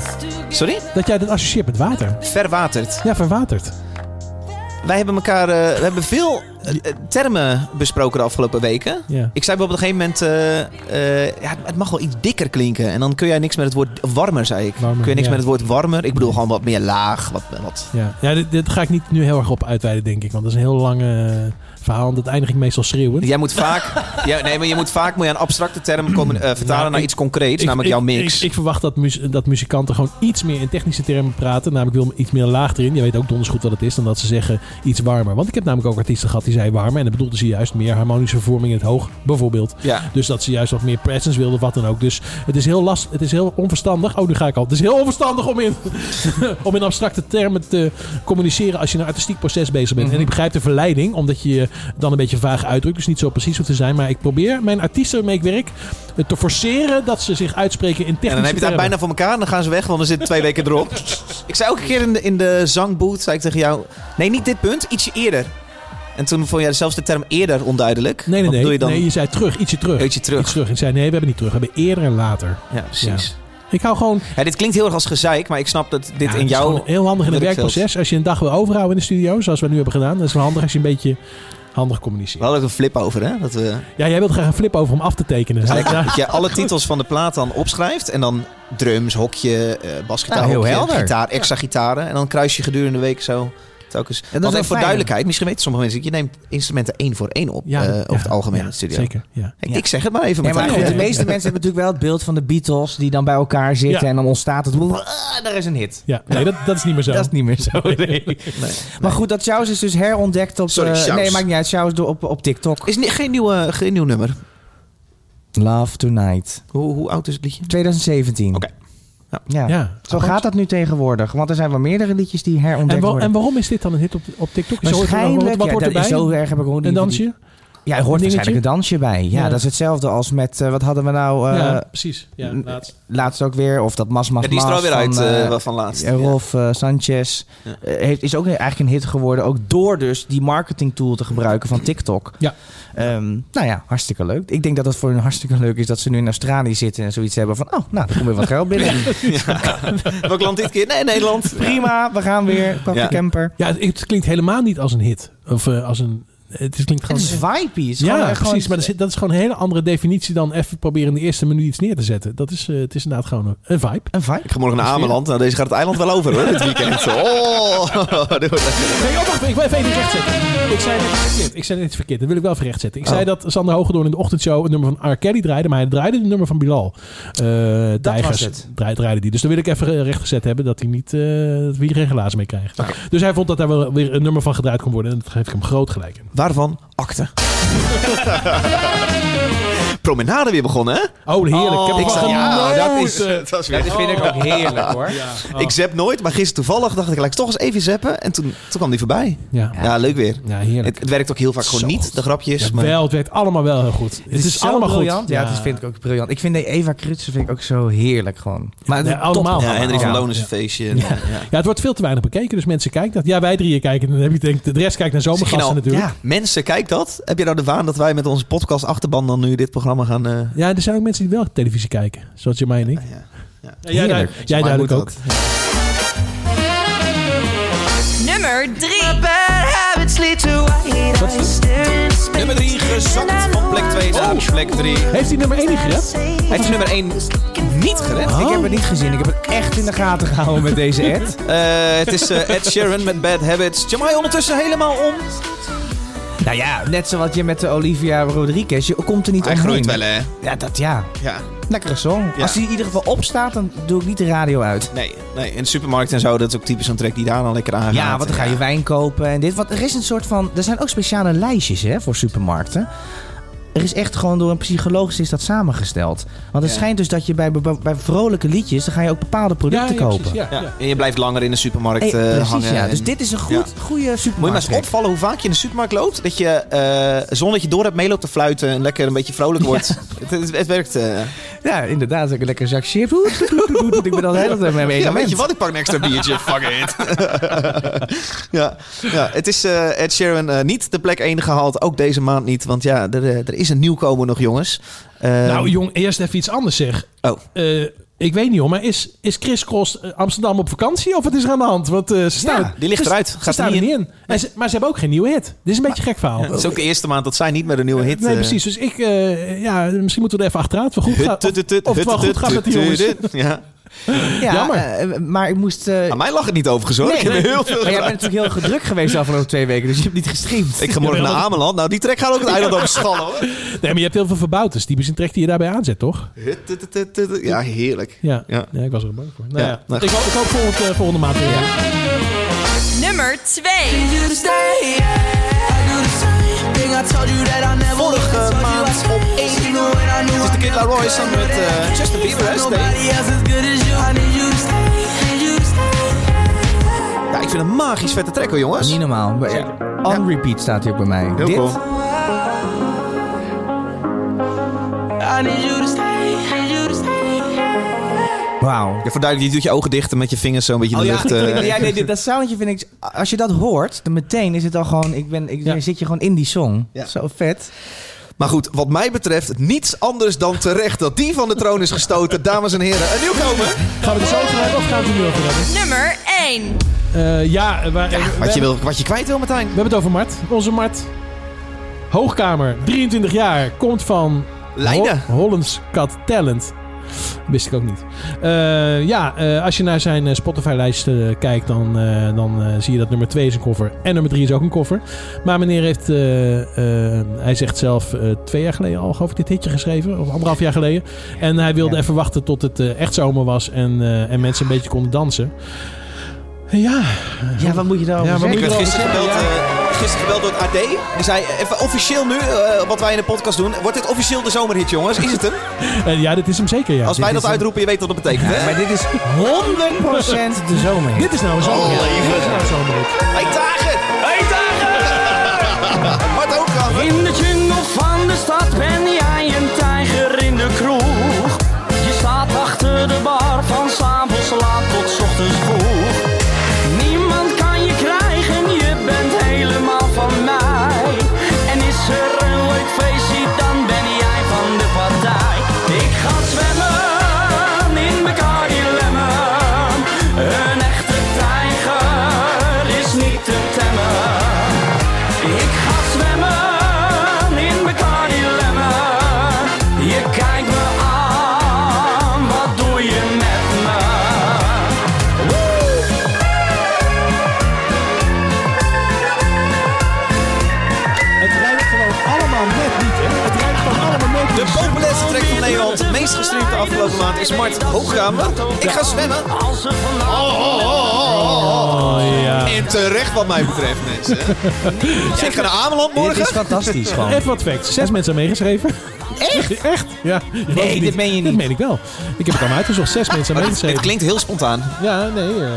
Sorry? Dat jij dat associeert met water. Verwaterd. Ja, verwaterd. Wij hebben elkaar. eh, we hebben veel eh, eh, termen besproken de afgelopen weken. Ja. Ik zei op een gegeven moment. eh, eh, ja, het mag wel iets dikker klinken. En dan kun jij niks met het woord warmer, zei ik. kun je niks ja. met het woord warmer? Ik bedoel gewoon wat meer laag. Wat, wat. Ja, ja dit, dit ga ik niet nu heel erg op uitweiden, denk ik. Want dat is een heel lang eh, verhaal. En dat eindig ik meestal schreeuwend. Jij moet vaak. [LAUGHS] ja, nee, maar je moet vaak moet je een abstracte term komen, eh, vertalen naar iets concreets, namelijk jouw mix. Nou, Ik, ik verwacht dat, mu- dat muzikanten gewoon iets meer in technische termen praten. Namelijk wil iets meer laag erin. Je weet ook donders goed wat het is dan dat ze zeggen iets warmer. Want ik heb namelijk ook artiesten gehad die zeiden warmer. En dat bedoelde ze juist meer harmonische vervorming in het hoog, bijvoorbeeld. Ja. Dus dat ze juist wat meer presence wilden, wat dan ook. Dus het is heel last, het is heel onverstandig. Oh, nu ga ik al. Het is heel onverstandig om in, [LAUGHS] om in abstracte termen te communiceren als je in een artistiek proces bezig Mhm. bent. En ik begrijp de verleiding, omdat je je dan een beetje vaag uitdrukt. Dus niet zo precies hoeft te zijn. Maar ik probeer mijn artiesten waarmee ik werk eh, te forceren dat ze zich uitspreken in technische En dan heb je het termen. bijna voor elkaar en dan gaan ze weg, want dan zitten twee weken [LAUGHS] erop. Ik zei ook een keer in de, in de zangboot, zei ik tegen jou... Nee, niet dit punt, ietsje eerder. En toen vond jij zelfs de term eerder onduidelijk. Nee, nee, Wat nee. bedoel je je dan? Nee, je zei terug. Ietsje terug. Ietsje terug. Iets terug. En ik zei nee, we hebben niet terug. We hebben eerder en later. Ja, precies. Ik hou gewoon... Ja, dit klinkt heel erg als gezeik, maar ik snap dat dit Ja, in het is jouw... gewoon heel handig in het werkveld- werkproces. Als je een dag wil overhouden in de studio, zoals we nu hebben gedaan. Dat is wel handig als je een beetje handig communiceert. We hadden ook een flip over, hè? Dat we... Ja, jij wilt graag een flip over om af te tekenen. Dus eigenlijk Ja. nou, dat je alle titels van de plaat dan opschrijft. En dan drums, hokje, eh basgitaar, Ja, heel hokje, helder. gitaar, extra gitaren. En dan kruis je gedurende de week zo telkens. is Want wel even voor fijn. duidelijkheid, misschien weten sommige mensen... Je neemt instrumenten één voor één op Ja, eh, ja, over het algemeen ja, in de studio. zeker, ja. Ik, ik zeg het maar even. Ja, maar Martijn. goed, de meeste mensen hebben natuurlijk wel het beeld van de Beatles die dan bij elkaar zitten Ja. en dan ontstaat het. Ah, daar is een hit. Ja, nee, dat, dat is niet meer zo. [LAUGHS] Oh, Dat is niet meer zo. nee. Maar goed, dat Sjaus is dus herontdekt op. Sorry, eh, Sjaus. nee, maakt niet uit. Sjaus door op, op TikTok. Is niet, geen, nieuwe, eh, geen nieuw nummer. Love Tonight. Hoe, hoe oud is het liedje? 2017. Oké. Ja. Ja, Zo gaat dat nu tegenwoordig. Want er zijn wel meerdere liedjes die herontdekt En, wa- worden. en waarom is dit dan een hit op, op TikTok? Is er ooit- Waarschijnlijk. Wat, wat ja, hoort dat is erbij? Zo erg heb ik gewoon Een dansje? Ja, er hoort Een dingetje? waarschijnlijk een dansje bij. Ja, Ja. dat is hetzelfde als met... eh, wat hadden we nou... eh, ja, precies. Ja, n- laatst. Laatst ook weer. Of dat Mas Mas Ja, die is er Mas alweer uit, eh, eh, wel van laatst. eh, Rolf eh, Sanchez. eh, heeft, is ook eigenlijk een hit geworden. Ook door dus die marketing tool te gebruiken van TikTok. Ja. Ehm, nou ja, hartstikke leuk. Ik denk dat het voor hun hartstikke leuk is dat ze nu in Australië zitten en zoiets hebben van... Oh, nou, er komt weer wat geld binnen. Welk land dit keer? Nee, Nederland. Prima, we gaan weer. Pak de Ja. camper. Ja, het, het klinkt helemaal niet als een hit. Of eh, als een... Het is- klinkt Het gewoon... is vibey. het is ja, gewoon echt precies. gewoon- Maar er zit- dat is gewoon een hele andere definitie dan even proberen in de eerste minuut iets neer te zetten. Dat is, eh, het is inderdaad gewoon een- een vibe. Een vibe. Ik ga morgen naar Ameland. Nou, deze gaat het eiland wel over, hoor, dit [LAUGHS] weekend. Oh, [LAUGHS] dit wordt echt- Nee, oh, wacht, ik wil even iets rechtzetten. Ik zei dit verkeerd. Ik zei dit verkeerd. Dat wil ik wel even rechtzetten. Ik zei dat Sander Hogedoorn in de ochtendshow een nummer van R. Kelly draaide. Maar hij draaide het nummer van Bilal. Eh Tijgers het. draai- draaide die. Dus dan wil ik even eh, rechtgezet hebben dat hij niet, eh, dat we hier geen glazen mee krijgen. Dus hij vond dat daar wel weer een nummer van gedraaid kon worden. En dat geef ik hem groot gelijk in. Waarvan akte. [LAUGHS] Promenade weer begonnen, hè? Oh, heerlijk. ik heb ik ervan zei, ja, genoten. dat is, dat is weer... dit vind ik ook heerlijk, hoor. Oh. Ik zap nooit, maar gisteren toevallig dacht ik, laat ik toch eens even zappen. En toen, toen kwam die voorbij. Ja. Ja, leuk weer. Ja, heerlijk. Het, het werkt ook heel vaak gewoon niet, de grapjes. maar... Wel, het werkt allemaal wel heel goed. Het, Het is, zo allemaal briljant. goed. Ja, dat vind ik ook briljant. Ik vind die Eva Krutsen vind ik ook zo heerlijk gewoon. Maar het Ja, is een allemaal. topprogramma. Ja, Henry van Ja. Loon is een feestje. en, eh, ja. Ja, het wordt veel te weinig bekeken. Dus mensen kijken dat. Ja, wij drieën kijken. En dan heb je denk, de rest kijkt naar Zeg je zomergasten nou, natuurlijk. ja, mensen, kijk dat. Heb je nou de waan dat wij met onze podcast achterban dan nu dit programma gaan... eh, Ja, er zijn ook mensen die wel televisie kijken. Zoals Jermaine en ik. ja. Ja. jij duidelijk, Heerlijk. jij Maar duidelijk moet ook. dat. Nummer 3. Nummer 3 gezakt van plek 2 naar plek 3. Heeft hij nummer 1 niet gered? Hij heeft nummer 1 niet gered. Oh. Ik heb het niet gezien. Ik heb het echt in de gaten gehouden met deze ad. [LAUGHS] Eh, het is eh, Ed Sheeran met Bad Habits. Jamai ondertussen helemaal om. nou ja, net zoals je met de Olivia Rodriguez. Je komt er niet omheen. hè? Ja, dat ja. Ja. Lekkere song. Ja. Als die in ieder geval opstaat, dan doe ik niet de radio uit. Nee, nee, in de supermarkt en zo, dat is ook typisch zo'n track die daar dan lekker aan gaat. Ja, want dan ga je wijn kopen en dit. Want er is een soort van... Er zijn ook speciale lijstjes hè, voor supermarkten. Er is echt gewoon door een psycholoog is dat samengesteld. Want het Ja. schijnt dus dat je bij, bij, bij vrolijke liedjes... dan ga je ook bepaalde producten ja, kopen. precies, ja, Ja, ja. En je blijft langer in de supermarkt Hey, eh, precies, hangen. ja. en- Dus dit is een goed, goede Moet je maar supermarkt. eens opvallen hoe vaak je in de supermarkt loopt. Dat je eh zonder dat je door hebt meeloopt te fluiten en lekker een beetje vrolijk wordt. Het, het, het werkt. eh. Ja, inderdaad. Ook een lekker zak chips. Oeh, doet, doet, doet, doet. Ik ben al de hele tijd mee mee. ja, weet je wat? Ik pak een extra [LAUGHS] biertje. Fuck it. ja, ja, het is eh, Ed Sheeran eh, niet de plek 1 gehaald. Ook deze maand niet. Want ja, er, eh, er is een nieuwkomer nog, jongens. Eh, Nou, jong, eerst even iets anders zeg. Oh. Eh, Ik weet niet hoor, maar is, is Chris Cross eh, Amsterdam op vakantie of wat is er aan de hand? Want eh, ze staan, die ligt ze- eruit. Ze, Gaat staan er er niet niet in. En ze- maar ze hebben ook geen nieuwe hit. Dit is een beetje een gek verhaal. Het is ook de eerste maand dat zij niet met een nieuwe hit... Nee, eh, precies. Dus ik, eh, ja, misschien moeten we er even achteruit. Of, goed Hut, gaat, tut, tut, of, tut, of het wel hut, goed tut, gaat met die tut, jongens. tut. Ja. Ja, Jammer. eh, maar ik moest... eh, Aan mij lag het niet overigens hoor. Ik heb heel veel Maar jij bent gebruikt. natuurlijk heel erg druk geweest de afgelopen twee weken, dus je hebt niet gestreamd. Ik ga morgen naar Ameland. Nou, die trek gaat ook het [LAUGHS] eiland overschallen hoor. Nee, maar je hebt heel veel verbouters. Die is een trek die je daarbij aanzet, toch? Hut, tut, tut, tut, tut. Ja, heerlijk. Ja, ja. ik was er bang voor. Nou, Ja, ja. nou, ik, hoop- ik hoop volgende, eh, volgende maand weer. Nummer 2. Vorige maand op 1 Het is de Kid Laroi samen met eh, Justin Bieber. hè, Steve? Ja, ik vind een magisch vette track hoor jongens. Niet normaal. Maar, ja, On repeat staat hier ook bij mij. Heel Dit? cool. I need you to stay, need you to stay. Wauw. Ja, voor duidelijk, je doet je ogen dicht en met je vingers zo een beetje in Oh de ja, lucht. ik vind- eh. ja nee, dit- dat soundje vind ik... Als je dat hoort, dan meteen is het al gewoon... Ik ben, ik, dan zit je gewoon in die song. Zo vet. Maar goed, wat mij betreft niets anders dan terecht dat die van de troon is gestoten. Dames en heren, een nieuwkomer. Gaan we er zo over hebben of gaan we het er nu over hebben? Nummer 1. Eh, ja, eh, waar- eh, we Wat hebben- je, wil, wat je kwijt wil, Martijn. We hebben het over Mart. Onze Mart. Hoogkamer, 23 jaar. Komt van... Leiden. Ho- Hollands Cat Talent. Wist ik ook niet. Eh, ja, eh, als je naar zijn eh, Spotify-lijst eh, kijkt, dan, eh, dan eh, zie je dat nummer 2 is een cover. En nummer 3 is ook een cover. Maar meneer heeft, eh, eh, hij zegt zelf, eh, twee jaar geleden al, geloof ik, dit hitje geschreven. Of anderhalf jaar geleden. En hij wilde even wachten tot het eh, echt zomer was en, eh, en mensen een beetje konden dansen. Ja. Ja, wat moet je daarover Ja, wat moet zeggen? Ik je werd erover gisteren gebeld, eh, gisteren gebeld door het AD. Die zei, eh, even officieel nu, eh, wat wij in de podcast doen, wordt dit officieel de zomerhit, jongens? Is [LAUGHS] het hem? Eh, ja, dit is hem zeker, ja. Als wij Dit dat is hem. uitroepen, je weet wat dat betekent, hè? Maar dit is 100% de zomer. Dit is nou een zomer. Dit is nou een zomerhit. Hey dagen! Hey dagen! Wat ook al. In de jungle van de stad ben jij een tijger in de kroeg. Je staat achter de bar van s'avonds laat tot 's ochtends vroeg. Niemand kan je krijgen, je bent helemaal van mij. En is er een leuk feestje, dan ben jij van de partij. Ik ga zwemmen in Bacardi Lemon. Een echte tijger is niet te temmen. Ik ga zwemmen in Bacardi Lemon. Je kijkt me aan, wat doe je met me? Woe! Het rijdt gewoon allemaal net niet, hè? Het rijdt gewoon allemaal net De populairste track van Nederland, meest gestreamd de afgelopen maand, is Mart Hoogkamer. Ik ga zwemmen. Oh, ja. En terecht wat mij betreft, [LAUGHS] mensen. Ja, ik ga naar Ameland morgen. Dit is fantastisch gewoon. Even wat facts. Zes mensen hebben meegeschreven. Echt? [LAUGHS] Echt? Ja. Je gelooft het dit meen je Dit niet. meen ik wel. Ik heb het allemaal uitgezocht. [LAUGHS] Zes mensen Maar hebben het, het meegeschreven. klinkt heel spontaan. Ja, nee. eh.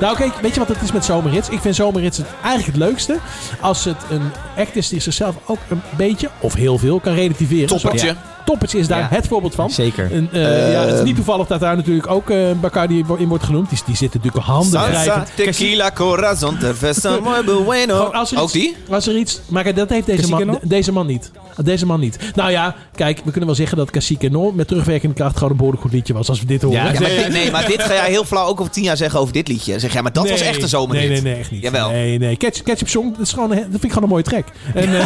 Nou, oké. weet je wat het is met zomerrits? Ik vind zomerrits het eigenlijk het leukste. Als het een act is die zichzelf ook een beetje, of heel veel, kan relativeren. Toppertje. Zoals- Toppertje is daar Ja. het voorbeeld van. Zeker. Ehm. En, eh, ja, het is niet toevallig dat daar natuurlijk ook eh Bacardi in wordt genoemd. Die, die zitten natuurlijk handen Salsa, wrijvend. tequila, corazon, cerveza, muy bueno. Gewoon Oh, als er Ook iets- die? Als er iets... Maar kijk, dat heeft deze Cacique man, Nol? de- deze man niet. Deze man niet. Nou ja, kijk, we kunnen wel zeggen dat Cacique Nol met terugwerkende kracht gewoon een behoorlijk goed liedje was. Als we dit horen. Ja, maar dit- nee, maar dit ga jij heel flauw ook over tien jaar zeggen over dit liedje. Zeg jij, maar dat was Nee. echt een zomerhit. Nee, nee, nee, echt niet. Jawel. Nee, nee. Catch, Ketchup Song, dat, is gewoon, een- dat vind ik gewoon een mooie track. En, [LAUGHS] eh,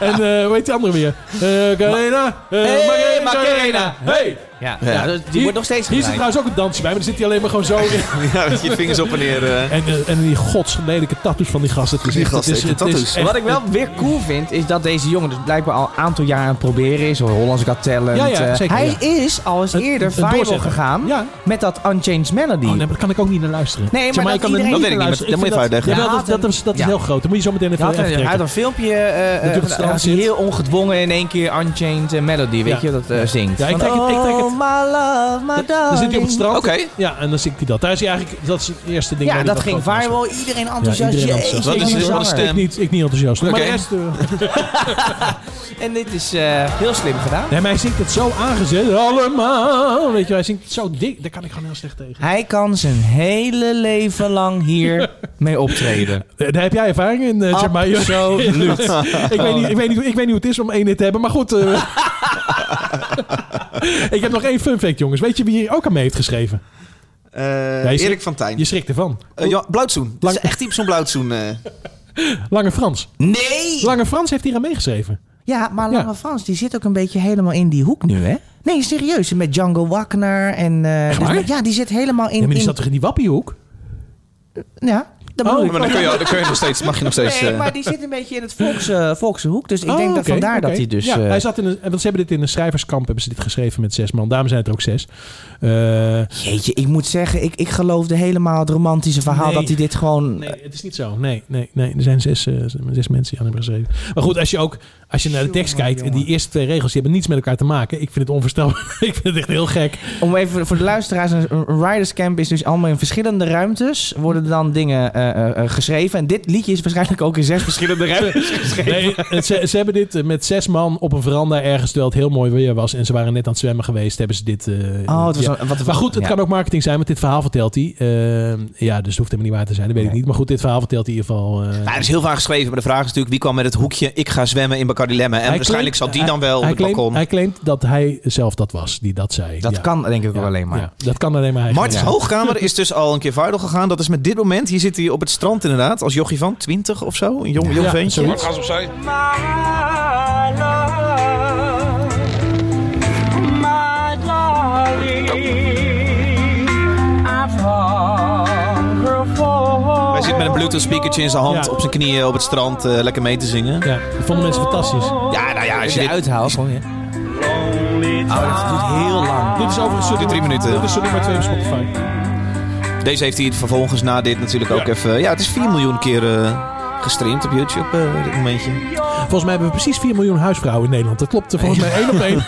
en eh, hoe heet die andere weer? Eh Carena. eh, Hey, Macarena. Macarena. Hey! Ja, Ja. ja. dus die wordt nog steeds Hier zit gedraaid. trouwens ook een dansje bij, maar dan zit hij alleen maar gewoon zo in. [LAUGHS] Ja, met je vingers op en neer. eh. En, eh, en die godsledelijke tattoos van die gasten. Het is Die echt- gasten het is- heeft de het is tattoos. echt- Wat ik wel weer cool vind, is dat deze jongen dus blijkbaar al een aantal jaar aan het proberen is. Hollands Got Talent. Ja, ja, eh, zeker, hij ja. is al eens eerder een viral doorzetter. gegaan Ja. met dat Unchanged Melody. Oh, nee, maar daar kan ik ook niet naar luisteren. Nee, Zeg maar ik dat kan er niet iedereen- Dat naar weet ik niet, luisteren. maar dat moet je Ik even vind uitleggen. Ja, Ja, dat, dat, is, dat is ja. heel groot. Dan moet je zo meteen even Hij had een, hij had uittrekken. een filmpje eh, Dat doet eh, het van- straks als hij zit. heel ongedwongen in één keer Unchained eh, Melody, weet Ja. je, dat eh, zingt. Ja, ik Van, trek het- ik trek het. Oh, my love, my darling. Dan zit hij op het strand. Oké. Ja, en dan zingt hij dat. Daar is hij eigenlijk, dat is het eerste ding. Ja, waar hij dat ging groot was. viral. Iedereen enthousiast. iedereen enthousiast. Jeetje, Dat is wat een heel zanger. stem. Ik niet, ik niet enthousiast. Maar Oké. de rest... eh, En dit is eh, heel slim gedaan. Nee, maar hij zingt het zo aangezet. Allemaal. Weet je, hij zingt het zo dik. Daar kan ik gewoon heel slecht tegen. Hij kan zijn hele leven lang [LAUGHS] hier mee optreden. Eh, Daar heb jij ervaring in, eh, zeg maar. Absoluut. [LAUGHS] ik, weet niet, ik, weet niet, hoe- ik weet niet hoe het is om één hit te hebben, maar goed. eh, [LAUGHS] Ik heb nog één fun fact, jongens. Weet je wie hier ook aan mee heeft geschreven? Ja, je schrikt- Eh, Erik van Tijn. Je schrikt ervan. Eh, ja, Blauwtsoen. Dat is echt typisch zo'n Blauwtsoen. eh. Lange Frans. Nee! Lange Frans heeft hier aan meegeschreven. Ja, maar Lange Frans die zit ook een beetje helemaal in die hoek nu, hè? Nee, serieus. Met Django Wagner en... eh, dus- waar? ja, die zit helemaal in... ja, maar die in- zat toch in die wappiehoek? Ja, dat bedoel ik. Oh, maar dan kun je, dan kun je nog steeds, mag je nog steeds... Nee, eh, maar die zit een beetje in het volkse, volkse hoek. Dus ik Oh, denk dat oké, vandaar oké. dat hij dus... Ja, eh, hij zat in een, want ze hebben dit in een schrijverskamp hebben ze dit geschreven met zes man. Daarom zijn het er ook zes. Eh, Jeetje, ik moet zeggen, ik, ik geloofde helemaal het romantische verhaal Nee. dat hij dit gewoon... Nee, het is niet zo. Nee, nee, nee. Er zijn zes, eh, zes mensen die aan hebben geschreven. Maar goed, als je ook als je naar de tekst kijkt, en die eerste twee regels die hebben niets met elkaar te maken. Ik vind het onvoorstelbaar. [LAUGHS] ik vind het echt heel gek. Om even voor de luisteraars, een een Riders Camp is dus allemaal in verschillende ruimtes. Worden dan dingen eh, eh, eh, geschreven. En dit liedje is waarschijnlijk ook in zes [LAUGHS] verschillende ruimtes geschreven. Nee, het- ze, ze hebben dit eh, met zes man op een veranda ergens, terwijl het heel mooi weer was. En ze waren net aan het zwemmen geweest, hebben ze dit... eh, Oh, het was ja. een- wat- maar goed, het ja. kan ook marketing zijn, want dit verhaal vertelt hij. Eh, ja, dus het hoeft helemaal niet waar te zijn, dat weet ik niet. Maar goed, dit verhaal vertelt hij in ieder geval... eh, nou, er is heel vaak geschreven, maar de vraag is natuurlijk... wie kwam met het hoekje, ik ga zwemmen in Bacardi Lemmen. En Hij waarschijnlijk claimt- zat die dan wel op hij het claimt, balkon. Hij claimt dat hij zelf dat was, die dat zei. Dat Ja. kan denk ik ook Ja, alleen maar. ja, dat kan alleen maar hij. Martens Ja. [LAUGHS] Hoogkamer is dus al een keer viral gegaan. Dat is met dit moment. Hier zit hij op het strand inderdaad. Als jochie van 20 of zo. Een jong, jong Ja, ventje. zoiets. Gas opzij. My darling, I've hungered for. Hij zit met een bluetooth speakertje in zijn hand op zijn knieën op het strand eh, lekker mee te zingen. Ja, dat vonden mensen fantastisch. Ja, nou ja, als je je dit... uithaalt. Gewoon, ja. Oh, dat duurt heel lang. Dit is overigens zoete Drie minuten. Dit is zoete nummer 2 op Spotify. Deze heeft hij vervolgens na dit natuurlijk ook even... Ja, het is 4 miljoen keer eh, gestreamd op YouTube eh, dit momentje. Volgens mij hebben we precies 4 miljoen huisvrouwen in Nederland. Dat klopt er volgens mij één op [LAUGHS] één.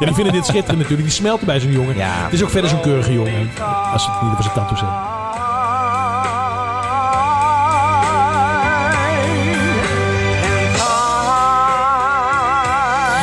ja, die vinden dit schitterend natuurlijk. Die smelten bij zo'n jongen. Het is ook verder zo'n keurige jongen. Als het niet op zijn tattoo zit.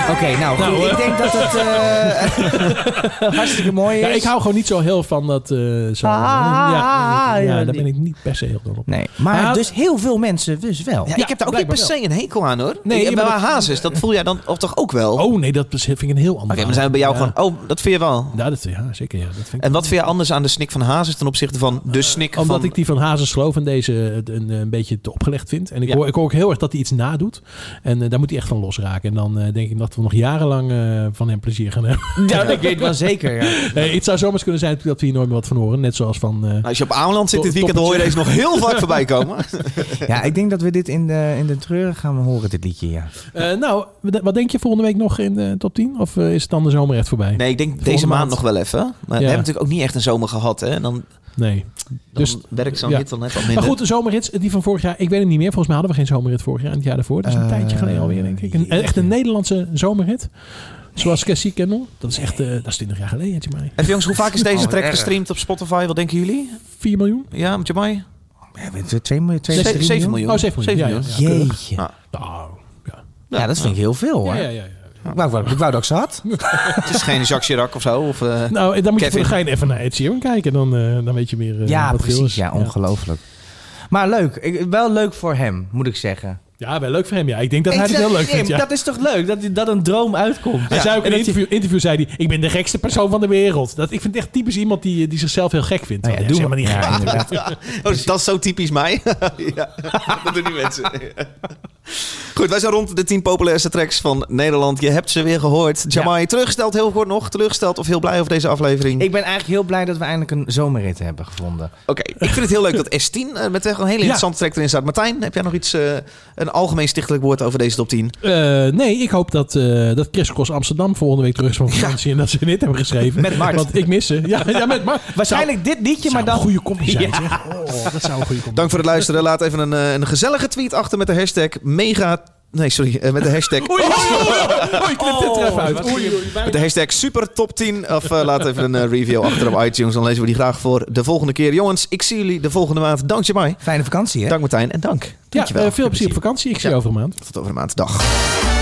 Oké, nou goed. ik denk dat het eh, hartstikke mooi Ja, is. ik hou gewoon niet zo heel van dat eh, zo. Ah, ja, ja, ja, daar die- ben ik niet per se heel dol op. Nee, maar Ah, dus heel veel mensen dus wel. Ja, ik heb daar ook niet per se een hekel aan hoor. Nee, Nee, maar bij dat- mijn hazes, dus dat voel jij dan of toch ook wel? Oké, Oh nee, dat is- vind ik een heel ander. maar dan zijn we bij jou gewoon... Oh, dat vind je wel. Ja, dat, ja zeker. Ja, dat vind ik En wat vind je anders aan de snik van hazes ten opzichte van de snik Eh, Omdat van... ik die van Hazes Sloof en deze een, een, een beetje te opgelegd vind. En ik, Ja. hoor, ik hoor ook heel erg dat hij iets nadoet. En eh, daar moet hij echt van losraken. En dan eh, denk ik dat we nog jarenlang eh, van hem plezier gaan [LAUGHS] hebben. Ja, ik weet wel zeker. Ja. Nee, het zou zomaar eens kunnen zijn dat we hier nooit meer wat van horen. Net zoals van... eh, Nou, Als je op Aanland zit dit To- weekend, dan hoor je deze nog toppertje. heel [LAUGHS] vaak voorbij komen. [LAUGHS] Ja, ik denk dat we dit in de, in de treuren gaan horen, dit liedje. Ja. Ah. eh, nou, wat- wat denk je volgende week nog in de top 10? Of eh, is het dan de zomer echt voorbij? Nee, ik denk deze maand, maand. nog wel even. Maar we hebben natuurlijk ook niet echt een zomer gehad. Hè? En dan, Nee. dan Dus- werkt zo'n ja. hit dan net al minder. Maar goed, de zomerrits, die van vorig jaar, ik weet het niet meer. Volgens mij hadden we geen zomerrit vorig jaar en het jaar daarvoor. Dat is een Eh, tijdje geleden alweer, denk ik. Een, echt een Nederlandse zomerrit. Zoals Cassie Kennel. Dat is echt, eh, dat is 20 jaar geleden, had je mij. Even jongens, hoe vaak is Oh, deze wat track erg. gestreamd op Spotify? Wat denken jullie? 4 miljoen? Ja, met je mij? Ja, we- we- Twee, miljoen- twee, Ze- drie zeven miljoen. Oh, 7 miljoen. Zeven Ja, ja, ja. Jeetje. Ah. Nou, ja. Ja, dat vind ik heel veel hoor. Ja, ja, ja, ja. Ik, wou, ik wou- ik wou dat ik ze had. Het is geen Jacques Chirac of zo? Of, [LAUGHS] eh, Nou, dan moet je voor Kevin. de gein even naar Ed Sheeran kijken. Dan, eh, dan weet je meer eh, ja, wat geel precies. is. Ja, ongelooflijk. Maar leuk. Ik- wel leuk voor hem, moet ik zeggen. Ja, wel leuk voor hem. Ja, ik denk dat Ik hij het zeg, heel leuk Jim, vindt. Ja. Dat is toch leuk, dat, dat een droom uitkomt. Hij zei ook in een En dat je- interview, interview zei hij, ik ben de gekste persoon van de wereld. Dat, ik vind het echt typisch iemand die, die zichzelf heel gek vindt. Nou ja, Want zeg doe maar. [LAUGHS] maar niet gek. Ja, inderdaad. Oh, dus dat is zo typisch mij. [LAUGHS] ja, dat doen die mensen. Goed, wij zijn rond de 10 populairste tracks van Nederland. Je hebt ze weer gehoord. Jamai, teruggesteld heel kort nog. Teleurgesteld of heel blij over deze aflevering? Ik ben eigenlijk heel blij dat we eindelijk een zomerrit hebben gevonden. Oké, ik vind het heel leuk dat S10 eh, met echt een hele interessante track erin staat. Martijn, heb jij nog iets, eh, een algemeen stichtelijk woord over deze top 10? Eh, nee, ik hoop dat, eh dat Chris Cross Amsterdam volgende week terug is van vakantie en dat ze dit hebben geschreven. Met Mart. Want ik mis ze. Ja, ja met Mart. Waarschijnlijk dit liedje, Nou, zou, maar dan... zou een goede combi zijn, Ja. zeg. Oh, dat zou een goede combi Dank voor het luisteren. Laat even een, eh, een gezellige tweet achter met de hashtag mega... Nee, sorry, eh, met de [LAUGHS] hashtag... Oei, oei, oei, knip dit er even uit. Oei, oei. Met de hashtag super top 10. Of eh, laat even een eh, review achter op iTunes. Dan lezen we die graag voor de volgende keer. Jongens, ik zie jullie de volgende maand. Dank Jamai. Fijne vakantie, hè? Dank Martijn en dank. Ja, Dankjewel. eh, veel plezier op vakantie. Ik zie je over een maand. Tot over de maand. Dag.